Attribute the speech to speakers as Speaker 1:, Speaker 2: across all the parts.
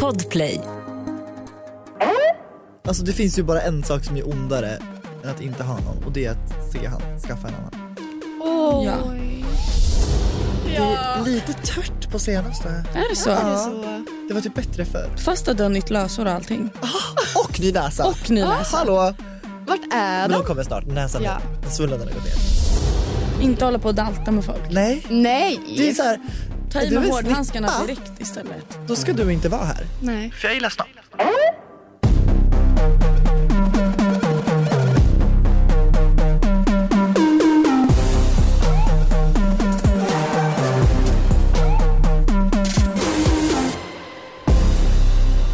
Speaker 1: Podplay.
Speaker 2: Alltså det finns ju bara en sak som är ondare än att inte ha någon och det är att se han skaffa en annan.
Speaker 3: Oj.
Speaker 4: Ja.
Speaker 2: Det är lite tört på senaste.
Speaker 4: Är det så?
Speaker 3: Det är så.
Speaker 2: Det var typ bättre förr.
Speaker 4: Fast hade nytt lösår och allting.
Speaker 2: Och ny näsa! Ah,
Speaker 4: Och ny näsa.
Speaker 2: Hallå!
Speaker 3: Vart är
Speaker 2: Men de
Speaker 3: de?
Speaker 2: kommer snart, näsan
Speaker 3: Ja.
Speaker 2: den svullnaden har gått ner.
Speaker 4: Inte hålla på och dalta med folk.
Speaker 2: Nej,
Speaker 3: Nej.
Speaker 2: det är så här,
Speaker 4: Ta i
Speaker 2: Du
Speaker 4: med
Speaker 2: vill
Speaker 4: hårdhandskarna
Speaker 2: snippa?
Speaker 4: direkt istället.
Speaker 2: då ska du inte vara här.
Speaker 3: Nej.
Speaker 2: För jag gillar snopp.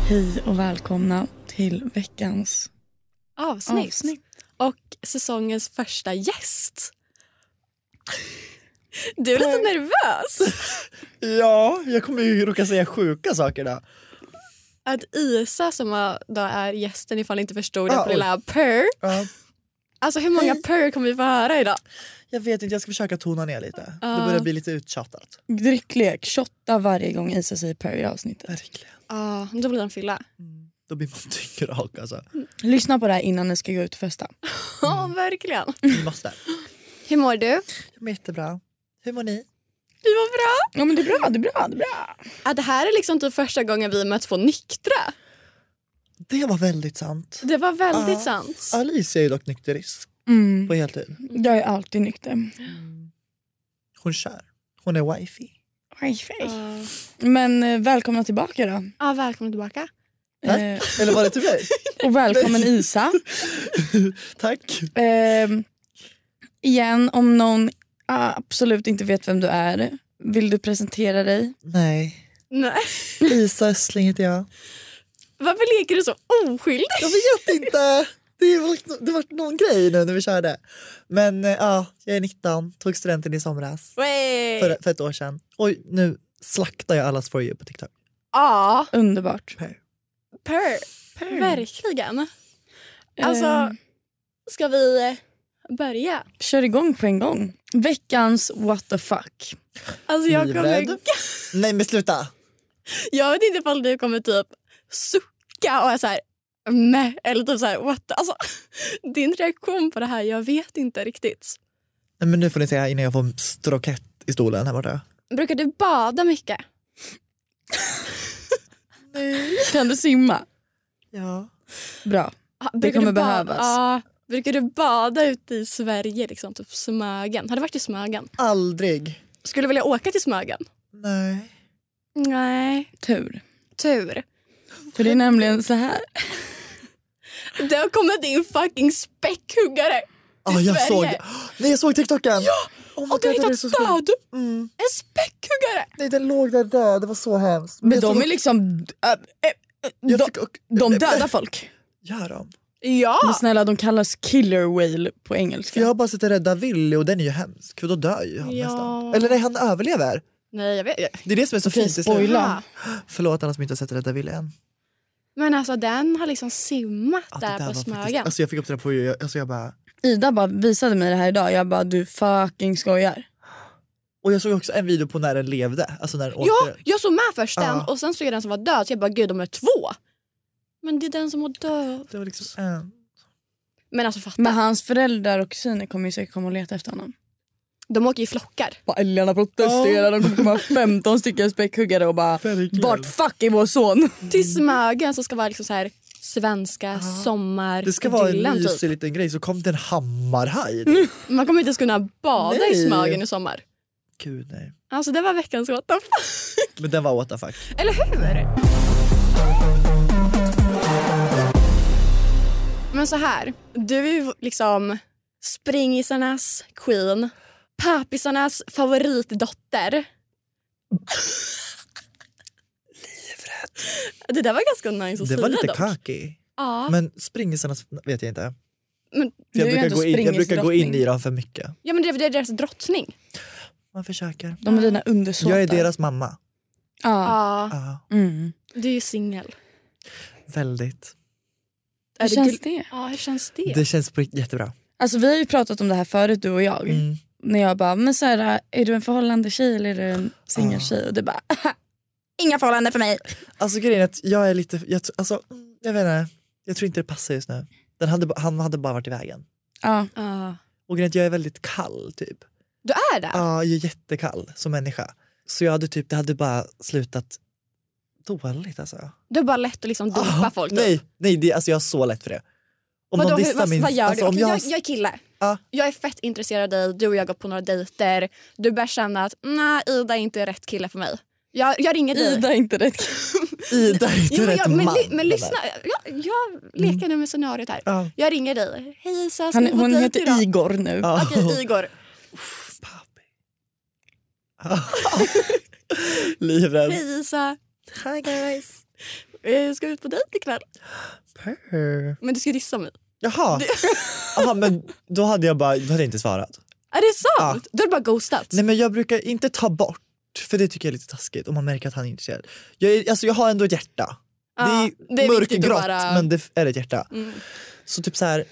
Speaker 4: Hej och välkomna till veckans
Speaker 3: Avsnitt.
Speaker 4: avsnitt.
Speaker 3: Och säsongens första gäst. Du är lite nervös.
Speaker 2: Ja, jag kommer ju råka säga sjuka saker då.
Speaker 3: Att Isa som var- då är gästen ifall ni inte förstod det
Speaker 2: Ja,
Speaker 3: på
Speaker 2: oj.
Speaker 3: lilla purr.
Speaker 2: Ja,
Speaker 3: Alltså hur många purr kommer vi få höra idag?
Speaker 2: jag vet inte, jag ska försöka tona ner lite. Det
Speaker 3: Ja.
Speaker 2: börjar bli lite uttjatat.
Speaker 4: Drycklek, shotta varje gång Isa säger per i avsnittet.
Speaker 2: Verkligen.
Speaker 3: Ja, då blir den fylla.
Speaker 2: Då blir man dyngrak alltså.
Speaker 4: Lyssna på det här innan ni ska gå ut och festa.
Speaker 3: Ja, verkligen.
Speaker 2: Vi måste.
Speaker 3: Hur mår du?
Speaker 2: Jag mår jättebra. Hur mår ni?
Speaker 3: Vi mår bra.
Speaker 4: Ja men det är bra, det är bra, det är bra.
Speaker 3: Ja, det här är liksom typ första gången vi möts på nyktra.
Speaker 2: Det var väldigt sant.
Speaker 3: Det var väldigt
Speaker 2: Ja.
Speaker 3: sant.
Speaker 2: Alicia är ju dock nykterist
Speaker 4: Mm.
Speaker 2: på heltid.
Speaker 4: Jag är alltid nykter.
Speaker 2: Hon kör. Hon är wifey.
Speaker 4: Hej,
Speaker 3: Ja.
Speaker 4: Men eh, välkomna tillbaka då.
Speaker 3: Ja, välkommen tillbaka.
Speaker 2: Tack.
Speaker 4: Eh,
Speaker 2: Eller var det till mig?
Speaker 4: och välkommen Isa.
Speaker 2: Tack.
Speaker 4: Ehm, igen, om någon absolut inte vet vem du är, vill du presentera dig?
Speaker 2: Nej.
Speaker 3: Nej.
Speaker 2: Lisa Östling heter jag.
Speaker 3: Varför leker du så oskyldig?
Speaker 2: Jag vet inte. Det var, det var någon grej nu när vi körde. Men eh, ja, jag är 19, tog studenten i somras.
Speaker 3: Way.
Speaker 2: För, för ett år sedan. Oj, nu slaktar jag allas for you på TikTok.
Speaker 3: Ja,
Speaker 4: Underbart.
Speaker 3: purr. Verkligen. Alltså, ska vi eh, börja?
Speaker 4: Ehm, Kör igång på en gång. Veckans what the fuck.
Speaker 3: Alltså jag kommer...
Speaker 2: Livrädd. Nej men sluta!
Speaker 3: Jag vet inte ifall du kommer typ sucka och är så här meh, eller typ så här what the... alltså, din reaktion på det här, jag vet inte riktigt.
Speaker 2: Nej, men nu får ni se här innan jag får strokett i stolen här borta.
Speaker 3: Brukar du bada mycket?
Speaker 4: Kan du simma?
Speaker 2: Ja.
Speaker 4: Bra.
Speaker 3: Ha-
Speaker 4: Det
Speaker 3: brukar
Speaker 4: kommer
Speaker 3: du ba-
Speaker 4: behövas.
Speaker 3: Ja, brukar du bada ute i Sverige, liksom, typ Smögen? Har du varit i Smögen?
Speaker 2: Aldrig.
Speaker 3: Skulle du vilja åka till Smögen?
Speaker 2: Nej.
Speaker 3: Nej.
Speaker 4: Tur.
Speaker 3: Tur.
Speaker 4: För det är nämligen så här.
Speaker 3: Det har kommit in fucking späckhuggare.
Speaker 2: Ah, jag
Speaker 3: Sverige.
Speaker 2: såg Nej jag såg TikToken! Ja! Oh my
Speaker 3: Och du har
Speaker 2: God, det är
Speaker 3: hittat
Speaker 2: så skumt.
Speaker 3: död.
Speaker 2: Mm.
Speaker 3: En späckhuggare!
Speaker 2: Nej den låg där död, det var så hemskt.
Speaker 4: Men
Speaker 2: jag
Speaker 4: de
Speaker 2: såg-
Speaker 4: är liksom... äh, äh,
Speaker 2: jag
Speaker 4: de,
Speaker 2: fick och-
Speaker 4: de dödar folk.
Speaker 2: Gör de?
Speaker 4: Men
Speaker 3: Ja!
Speaker 4: snälla, de kallas killer whale på
Speaker 2: För
Speaker 4: engelska.
Speaker 2: jag har bara sett Rädda Willy och den är ju hemsk för då dör ju han
Speaker 3: Ja.
Speaker 2: nästan. Eller nej han överlever.
Speaker 3: Nej, jag vet. Jag...
Speaker 2: Det är det som är så
Speaker 4: Okej,
Speaker 2: fint i
Speaker 4: spoiler.
Speaker 2: slutet.
Speaker 4: Spoila.
Speaker 2: Förlåt alla som inte har sett Rädda Willy än.
Speaker 3: Men alltså den har liksom simmat
Speaker 2: Ja, det
Speaker 3: där, på
Speaker 2: var faktiskt-
Speaker 3: Smögen.
Speaker 2: Alltså jag fick upp det där på jag, alltså jag bara...
Speaker 4: Ida bara visade mig det här idag. Jag bara, du fucking skojar.
Speaker 2: Och jag såg också en video på när den levde. Alltså när den åkte.
Speaker 3: Ja, jag såg med först den
Speaker 2: Ja.
Speaker 3: och sen såg jag den som var död så jag bara gud de är två. Men det är den som var död.
Speaker 2: Det var liksom en.
Speaker 3: Men alltså fatta,
Speaker 4: Men hans föräldrar och kusiner kommer ju säkert komma och leta efter honom.
Speaker 3: de åker i flockar.
Speaker 4: Bara, Älgarna protesterar, de kommer komma 15 stycken späckhuggare och bara
Speaker 2: Verkligen.
Speaker 4: Vart fuck är vår son?
Speaker 3: Mm. Till Smögen som ska vara liksom så här svenska sommar
Speaker 2: Det ska vara en
Speaker 3: idyllen,
Speaker 2: mysig
Speaker 3: typ.
Speaker 2: liten grej så kom det en hammarhaj.
Speaker 3: Man kommer inte ens kunna bada
Speaker 2: Nej.
Speaker 3: i Smögen i sommar.
Speaker 2: Gud nej.
Speaker 3: Alltså det var veckans what the fuck.
Speaker 2: Men den var what the fuck.
Speaker 3: Eller hur? Men så här, du är ju liksom springisarnas queen, papisarnas favoritdotter. Det där var ganska nice att
Speaker 2: Det
Speaker 3: säga
Speaker 2: var lite
Speaker 3: dock.
Speaker 2: cocky.
Speaker 3: Ja.
Speaker 2: Men springisarna vet jag inte.
Speaker 3: Men,
Speaker 2: För
Speaker 4: Du är
Speaker 2: jag,
Speaker 4: ju
Speaker 2: brukar
Speaker 4: ändå
Speaker 2: gå in, jag brukar gå in
Speaker 4: springisdrottning.
Speaker 2: i dem för mycket.
Speaker 3: ja, men det, det är deras drottning.
Speaker 2: Man försöker.
Speaker 4: De är dina undersåtar.
Speaker 2: Jag är deras mamma.
Speaker 4: Ja.
Speaker 3: Ja,
Speaker 2: Ja,
Speaker 4: Mm.
Speaker 3: du är ju singel.
Speaker 2: väldigt.
Speaker 4: Hur
Speaker 3: det
Speaker 4: känns
Speaker 3: gul-
Speaker 4: det?
Speaker 3: Ja, hur känns det?
Speaker 2: Det känns på riktigt jättebra.
Speaker 4: Alltså, vi har ju pratat om det här förut du och jag.
Speaker 2: Mm. Ah.
Speaker 4: När jag bara, men så här, är du en förhållande tjej eller är du en singeltjej? Och du bara, Inga förhållanden för mig.
Speaker 2: Alltså grejen är att jag är lite, jag, tr- alltså, mm, jag vet inte, jag tror inte det passar just nu. Den hade, ba- han hade bara varit i vägen.
Speaker 4: Ja.
Speaker 3: Ja.
Speaker 2: Och grejen är att jag är väldigt kall typ.
Speaker 3: Du är det?
Speaker 2: Ja, jag är jättekall som människa. Så jag hade typ, det hade bara slutat dåligt alltså.
Speaker 3: Du är bara lätt att liksom dumpa
Speaker 2: Ah,
Speaker 3: folk?
Speaker 2: Nej, nej det, alltså jag har så lätt för det. Om
Speaker 3: Vadå,
Speaker 2: någon
Speaker 3: hur-
Speaker 2: dissar
Speaker 3: vad,
Speaker 2: min...
Speaker 3: vad gör
Speaker 2: alltså,
Speaker 3: du?
Speaker 2: om
Speaker 3: Okej,
Speaker 2: jag,
Speaker 3: jag, jag är kille.
Speaker 2: Ja.
Speaker 3: Jag är fett intresserad av dig, du och jag går på några dejter. Du börjar känna att nej, Ida är inte rätt kille för mig. Jag, jag ringer dig.
Speaker 4: Ida är inte rätt.
Speaker 2: Ida är inte
Speaker 3: Jo, men,
Speaker 2: rätt
Speaker 3: jag, men,
Speaker 2: man.
Speaker 3: ly-
Speaker 2: den
Speaker 3: men
Speaker 2: där.
Speaker 3: lyssna, jag, jag leker nu med scenariot här.
Speaker 2: Ja.
Speaker 3: Jag ringer dig. Hej
Speaker 2: Alltså,
Speaker 3: Isa, ska
Speaker 4: Han,
Speaker 3: vi på
Speaker 4: hon
Speaker 3: dejt
Speaker 4: heter
Speaker 3: idag?
Speaker 4: Igor nu.
Speaker 2: Ja.
Speaker 3: Okej, Igor.
Speaker 2: Pappi. Ah. Livrädd.
Speaker 3: Hej Isa,
Speaker 2: Hi guys.
Speaker 3: eh, ska vi ut på dejt ikväll?
Speaker 2: Purr.
Speaker 3: Men du ska dissa mig.
Speaker 2: Jaha. Aha, men då hade jag bara, då hade jag inte svarat.
Speaker 3: Är det sant? Då är det bara ghostat.
Speaker 2: Nej men jag brukar inte ta bort, för det tycker jag är lite taskigt om man märker att han är intresserad. Jag, är, alltså, jag har ändå ett hjärta.
Speaker 3: Ja,
Speaker 2: det är,
Speaker 3: det är viktigt att
Speaker 2: mörkgrått
Speaker 3: bara-
Speaker 2: men det f- är ett hjärta.
Speaker 3: Mm.
Speaker 2: Så typ så här,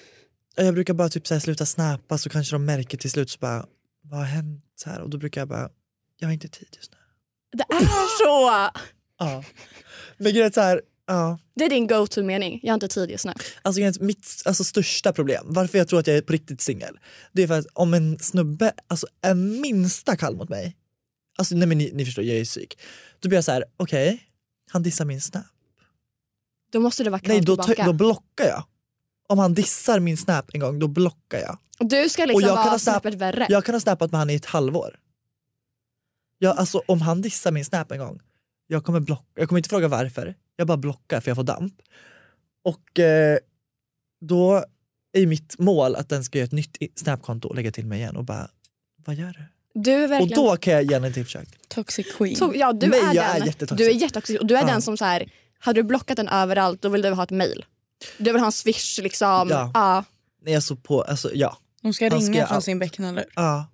Speaker 2: jag brukar bara typ så här sluta snappa så kanske de märker till slut så bara, vad har hänt? Så här, och då brukar jag bara, jag har inte tid just nu.
Speaker 3: Det är så!
Speaker 2: Ja. Men grejen är så här, ja.
Speaker 3: Det är din go-to-mening. Jag har inte tid just nu.
Speaker 2: Alltså grejen är att mitt alltså, största problem, varför jag tror att jag är på riktigt singel, det är för att om en snubbe alltså, är minsta kall mot mig, alltså nej men ni, ni förstår, jag är psyk, då blir jag så här, okej, han dissar min snap.
Speaker 3: Då måste det vara
Speaker 2: Nej,
Speaker 3: kallt
Speaker 2: då,
Speaker 3: tillbaka.
Speaker 2: ta- då blockar jag. Om han dissar min snap en gång, då blockar jag.
Speaker 3: Du ska liksom
Speaker 2: Och jag kan
Speaker 3: vara
Speaker 2: ha snap-
Speaker 3: snäppet värre.
Speaker 2: Jag kan ha snappat med han i ett halvår. Jag, alltså, om han dissar min snap en gång, jag kommer, block- jag kommer inte fråga varför. Jag bara blockar för jag får damp. Och eh, då är mitt mål att den ska göra ett nytt i- snapkonto och lägga till mig igen och bara, vad gör du?
Speaker 3: Du är
Speaker 2: Och
Speaker 3: verkligen...
Speaker 2: då kan jag ge henne ett tillförsök.
Speaker 4: Toxic queen.
Speaker 3: Så, ja, du
Speaker 2: Nej,
Speaker 3: är
Speaker 2: jag är
Speaker 3: den.
Speaker 2: jättetoxic.
Speaker 3: du är jättetoxic. Och du är
Speaker 2: Ja.
Speaker 3: den som så här, hade du blockat den överallt då vill du ha ett mail. Du vill ha en swish liksom.
Speaker 2: Ja.
Speaker 3: Ja.
Speaker 2: Nej, alltså på, alltså ja.
Speaker 4: Hon ska
Speaker 2: Han ska
Speaker 4: ringa
Speaker 2: all-
Speaker 4: från sin bäckenhållare.
Speaker 2: ja.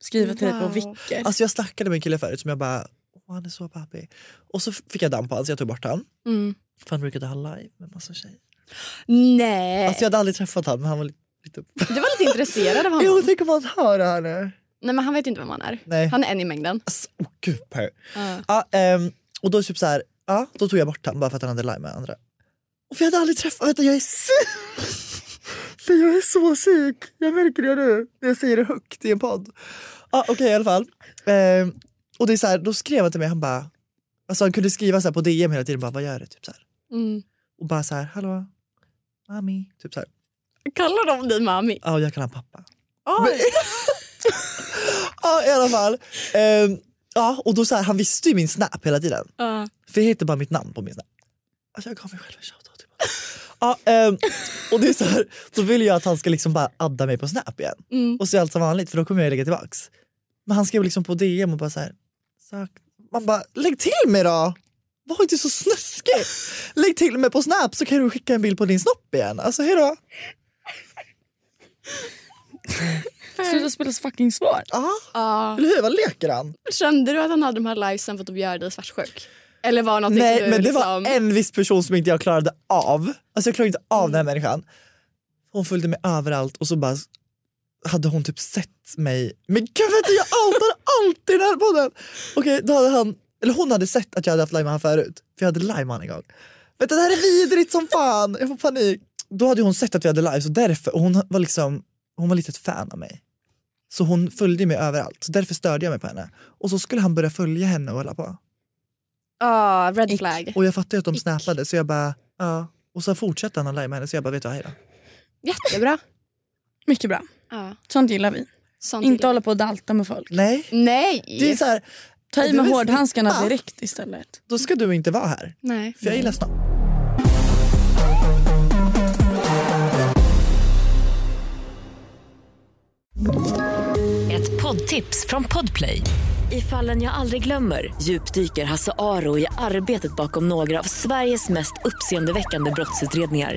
Speaker 4: Skriva till dig på
Speaker 3: Wow.
Speaker 4: vicker.
Speaker 2: Alltså jag snackade med en kille förut som jag bara, Åh, han är så pappig. Och så fick jag damp på honom så jag tog bort honom.
Speaker 3: Mm.
Speaker 2: För han brukade ha live med massa tjejer.
Speaker 3: Nej,
Speaker 2: Alltså jag hade aldrig träffat honom men han var li- lite...
Speaker 3: du var lite intresserad av honom.
Speaker 2: Jo, tänk om han hör det här nu.
Speaker 3: Nej men han vet inte vem han är.
Speaker 2: Nej.
Speaker 3: Han är en i mängden.
Speaker 2: Alltså, åh gud Per. Ja, ehm, och då typ så här, ja, då tog jag bort honom bara för att han hade live med andra. Och för jag hade aldrig träffat, vänta jag är sjuk! För jag är så sjuk, jag märker det nu när jag säger det högt i en podd. Ja, Okej i alla fall. Ehm, och det är så här, då skrev han till mig, han bara, alltså han kunde skriva så här på DM hela tiden, bara vad gör du? Typ så här.
Speaker 3: Mm.
Speaker 2: Och bara så här, hallå, mami, typ så här.
Speaker 3: Kallar de dig mami?
Speaker 2: Ja, och jag kallar honom pappa.
Speaker 3: Oj.
Speaker 2: Ja, i alla fall. Ehm, ja, och då så här, han visste ju min snap hela tiden.
Speaker 3: Ja.
Speaker 2: För jag heter bara mitt namn på min snap. Alltså jag gav mig själv en shoutout. tillbaka. Ja, ehm, och det är så här, då vill jag att han ska liksom bara adda mig på snap igen.
Speaker 3: Mm.
Speaker 2: Och så är allt som vanligt för då kommer jag lägga tillbaks. Men han skrev liksom på DM och bara så här. Sak. Man bara, lägg till mig då! Var inte så snuskig! Lägg till mig på snap så kan du skicka en bild på din snopp igen. Alltså hejdå!
Speaker 4: Sluta spela så fucking svår.
Speaker 2: Ja,
Speaker 3: Ja.
Speaker 2: eller hur? Vad leker han?
Speaker 3: Kände du att han hade de här livesen för att de gör dig svartsjuk? Eller var det något
Speaker 2: Nej,
Speaker 3: du
Speaker 2: men det
Speaker 3: liksom...
Speaker 2: var en viss person som inte jag klarade av. Alltså jag klarade inte av den här människan. Hon följde mig överallt och så bara hade hon typ sett mig. Men gud vet du, jag outar alltid den här podden! Okej, då hade han, eller hon hade sett att jag hade haft live med han förut. För jag hade live med han en gång. Vet du, det här är vidrigt som fan! Jag får panik. Då hade hon sett att vi hade live så därför, och hon var liksom, hon var lite ett fan av mig. Så hon följde mig överallt, så därför störde jag mig på henne. Och så skulle han börja följa henne och hålla på.
Speaker 3: Ja, red
Speaker 4: Ick.
Speaker 3: flag.
Speaker 2: Och jag fattade ju att de snappade så jag bara, ja. Och så fortsatte han att lajma henne så jag bara, vet du vad, hej då.
Speaker 3: Jättebra.
Speaker 4: Mycket bra.
Speaker 3: Ja.
Speaker 4: Sånt gillar vi.
Speaker 3: Sånt
Speaker 4: Inte
Speaker 3: gillar
Speaker 4: hålla på och dalta med folk.
Speaker 2: Nej,
Speaker 3: jag. Nej!
Speaker 2: det är så här,
Speaker 4: Ta i
Speaker 2: Du
Speaker 4: med
Speaker 2: är
Speaker 4: hårdhandskarna
Speaker 2: snippa.
Speaker 4: direkt istället.
Speaker 2: då ska du inte vara här.
Speaker 3: Nej.
Speaker 2: För jag gillar snopp.
Speaker 1: Ett poddtips från Podplay. I fallen jag aldrig glömmer djupdyker Hasse Aro i arbetet bakom några av Sveriges mest uppseendeväckande brottsutredningar.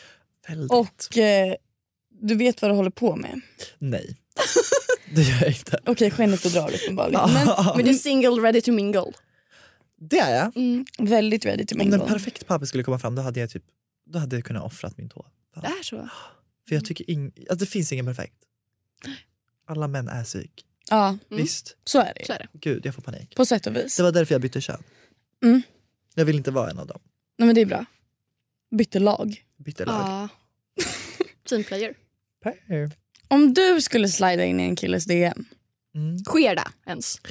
Speaker 2: Väldigt.
Speaker 4: och eh, du vet vad du håller på med.
Speaker 2: Nej. Det gör jag inte.
Speaker 4: Okej, skenet du drar uppenbarligen.
Speaker 3: Men du är single, ready to mingle.
Speaker 2: Det är jag.
Speaker 4: Men väldigt ready to
Speaker 2: Om
Speaker 4: mingle.
Speaker 2: en perfekt pappa skulle komma fram då hade jag typ då hade jag kunnat offrat min tå.
Speaker 3: Det är så.
Speaker 2: För
Speaker 4: Mm.
Speaker 2: jag tycker ing- alltså, det finns ingen perfekt. Alla män är psyk.
Speaker 4: Ja,
Speaker 3: Mm.
Speaker 2: Visst?
Speaker 4: så är det.
Speaker 3: Så
Speaker 4: ju.
Speaker 3: är det.
Speaker 2: Gud, jag får panik.
Speaker 4: På sätt och vis.
Speaker 2: Det var därför jag bytte kön.
Speaker 4: Mm.
Speaker 2: Jag vill inte vara en av dem.
Speaker 4: Nej, men det är bra. Bytte lag.
Speaker 2: Bytte
Speaker 4: Ah.
Speaker 2: lag.
Speaker 3: Ja. Team player.
Speaker 2: Per.
Speaker 4: Om du skulle slida in i en killes DM.
Speaker 2: Mm.
Speaker 3: Sker det ens?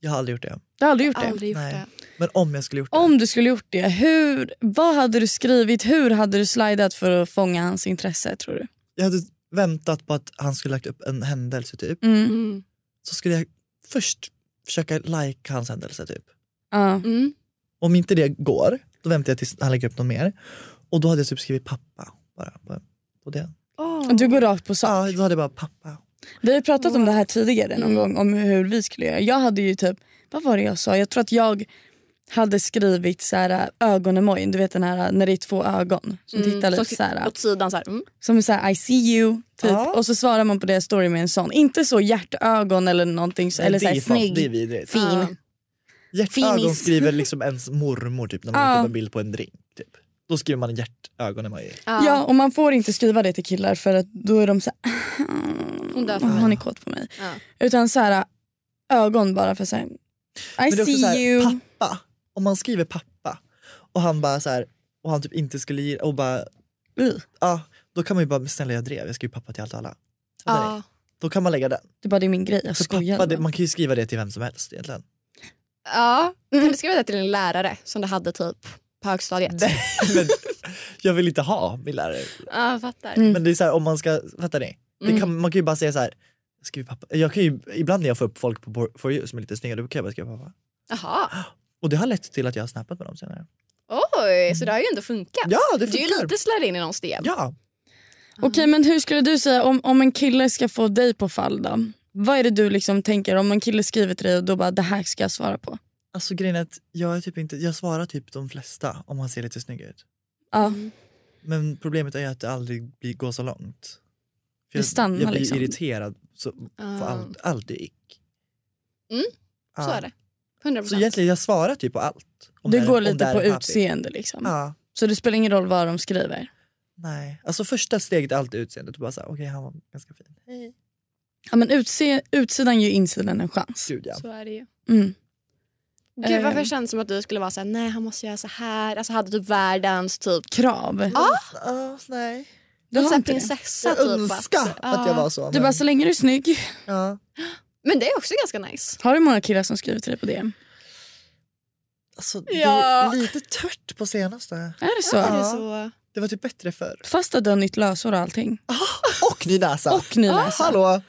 Speaker 2: Jag har aldrig gjort det.
Speaker 4: Du har aldrig gjort det.
Speaker 3: Aldrig gjort
Speaker 2: Nej.
Speaker 3: det.
Speaker 2: Men om jag skulle gjort det.
Speaker 4: Om du skulle gjort det, hur, vad hade du skrivit? Hur hade du slidat för att fånga hans intresse tror du?
Speaker 2: Jag hade väntat på att han skulle lagt upp en händelse typ.
Speaker 4: Mm.
Speaker 3: Mm.
Speaker 2: Så skulle jag först försöka like hans händelse typ.
Speaker 4: Ja.
Speaker 3: Mm.
Speaker 2: Om inte det går, då väntar jag tills han lägger upp något mer. Och då hade jag typ skrivit pappa bara på, på det.
Speaker 3: Åh.
Speaker 4: Du går rakt på sak.
Speaker 2: Ja, då hade jag bara pappa.
Speaker 4: Vi har ju pratat om
Speaker 3: Wow.
Speaker 4: det här tidigare
Speaker 3: Mm.
Speaker 4: någon gång om hur vi skulle göra. Jag hade ju typ, vad var det jag sa? Jag tror att jag hade skrivit så här ögonemojin, du vet den här äh, när det är två ögon som
Speaker 3: Mm,
Speaker 4: tittar lite
Speaker 3: som-
Speaker 4: så här. äh,
Speaker 3: Åt sidan så här. Mm.
Speaker 4: Som är så här I see you typ
Speaker 2: Ja.
Speaker 4: och så svarar man på deras story med en sån. Inte så hjärtögon eller någonting så,
Speaker 2: Nej,
Speaker 4: eller
Speaker 2: det
Speaker 4: så här,
Speaker 2: är fan- Det är
Speaker 4: snygg.
Speaker 2: vidrigt.
Speaker 4: Fin.
Speaker 3: Ja.
Speaker 2: Hjärtögon
Speaker 4: finis.
Speaker 2: skriver liksom ens mormor typ när man
Speaker 4: Ja.
Speaker 2: lägger upp en bild på en drink. Typ. Då skriver man hjärtögon emoji.
Speaker 4: Ja och man får inte skriva det till killar för att då är de så här,
Speaker 3: Hon dör för
Speaker 4: "Ah,
Speaker 3: mig."
Speaker 4: hon är kåt på mig.
Speaker 3: Ja.
Speaker 4: Utan så här äh, ögon bara för så här, I
Speaker 2: Men det är också
Speaker 4: see
Speaker 2: så här,
Speaker 4: you.
Speaker 2: pappa. Om man skriver pappa och han bara så här, och han typ inte skulle ge och bara
Speaker 4: Ugh.
Speaker 2: ja, då kan man ju bara snälla jag drev, jag skriver pappa till allt och alla. Och där är-
Speaker 3: Ja.
Speaker 2: Då kan man lägga den.
Speaker 4: Det är bara det är min grej, jag
Speaker 2: För
Speaker 4: skojar.
Speaker 2: pappa, det,
Speaker 4: bara.
Speaker 2: man kan ju skriva det till vem som helst egentligen.
Speaker 3: Ja. Kan du skriva det till en lärare som du hade typ på högstadiet? Ja,
Speaker 2: Men jag vill inte ha min lärare.
Speaker 3: jag fattar.
Speaker 4: Mm.
Speaker 2: Men det är så här, om man ska, fattar ni? Det
Speaker 3: Mm.
Speaker 2: kan, man kan ju bara säga så här, jag skriver pappa. Jag kan ju, ibland när jag får upp folk på For- For you som är lite snygga, då kan jag bara skriva pappa.
Speaker 3: Jaha.
Speaker 2: Och det har lett till att jag har snappat med dem senare.
Speaker 3: Oj, så det har ju ändå funkat.
Speaker 2: Ja, det
Speaker 3: Du är ju
Speaker 2: funkar.
Speaker 3: lite slärd in i någons DM.
Speaker 2: Ja,
Speaker 4: Okej men hur skulle du säga om, om en kille ska få dig på fall då? Vad är det du liksom tänker om en kille skriver till dig och då bara det här ska jag svara på?
Speaker 2: alltså grejen är att jag, är typ inte, jag svarar typ de flesta om han ser lite snygg ut.
Speaker 4: Ja.
Speaker 2: Men problemet är ju att det aldrig blir, går så långt.
Speaker 4: Det
Speaker 2: jag,
Speaker 4: stannar
Speaker 2: jag blir
Speaker 4: liksom.
Speaker 2: irriterad så, på
Speaker 3: Ah.
Speaker 2: allt, allt är ick.
Speaker 3: Mm,
Speaker 2: Ja.
Speaker 3: Så är det. 100
Speaker 2: Så
Speaker 3: procent.
Speaker 2: egentligen jag svarar typ på allt. Om
Speaker 4: Du
Speaker 2: det är-
Speaker 4: går
Speaker 2: om det
Speaker 4: lite
Speaker 2: är
Speaker 4: på
Speaker 2: en pappi.
Speaker 4: utseende liksom.
Speaker 2: Ja,
Speaker 4: Så det spelar ingen roll vad de skriver.
Speaker 2: nej. Alltså första steget är alltid utseendet. Du bara såhär, okej han var ganska fin. Hej.
Speaker 4: Ja, men utse, utsidan ger insidan en chans.
Speaker 2: Gud ja.
Speaker 3: Så är det ju.
Speaker 4: Mm.
Speaker 3: Gud varför
Speaker 4: Ehm.
Speaker 3: känns det som att du skulle vara såhär, nej han måste göra så här. Alltså hade typ världens typ,
Speaker 4: Krav.
Speaker 2: Ah, nej.
Speaker 4: Du har
Speaker 3: såhär
Speaker 4: inte det.
Speaker 3: prinsessa
Speaker 2: Jag
Speaker 3: typ.
Speaker 2: önskar
Speaker 3: Ja.
Speaker 2: att jag var så.
Speaker 4: Du
Speaker 2: men-
Speaker 4: bara så länge du är snygg.
Speaker 2: ja.
Speaker 3: Men det är också ganska nice.
Speaker 4: Har du många killar som skriver till dig på DM?
Speaker 2: Alltså, det
Speaker 3: Ja.
Speaker 2: är lite tört på senaste.
Speaker 4: Är det så?
Speaker 3: Är det
Speaker 2: Ja.
Speaker 3: så?
Speaker 2: Det var typ bättre förr.
Speaker 4: Fast att du har nytt lösår och allting.
Speaker 2: Och ny näsa.
Speaker 4: Och ny näsa.
Speaker 2: Ah, Hallå!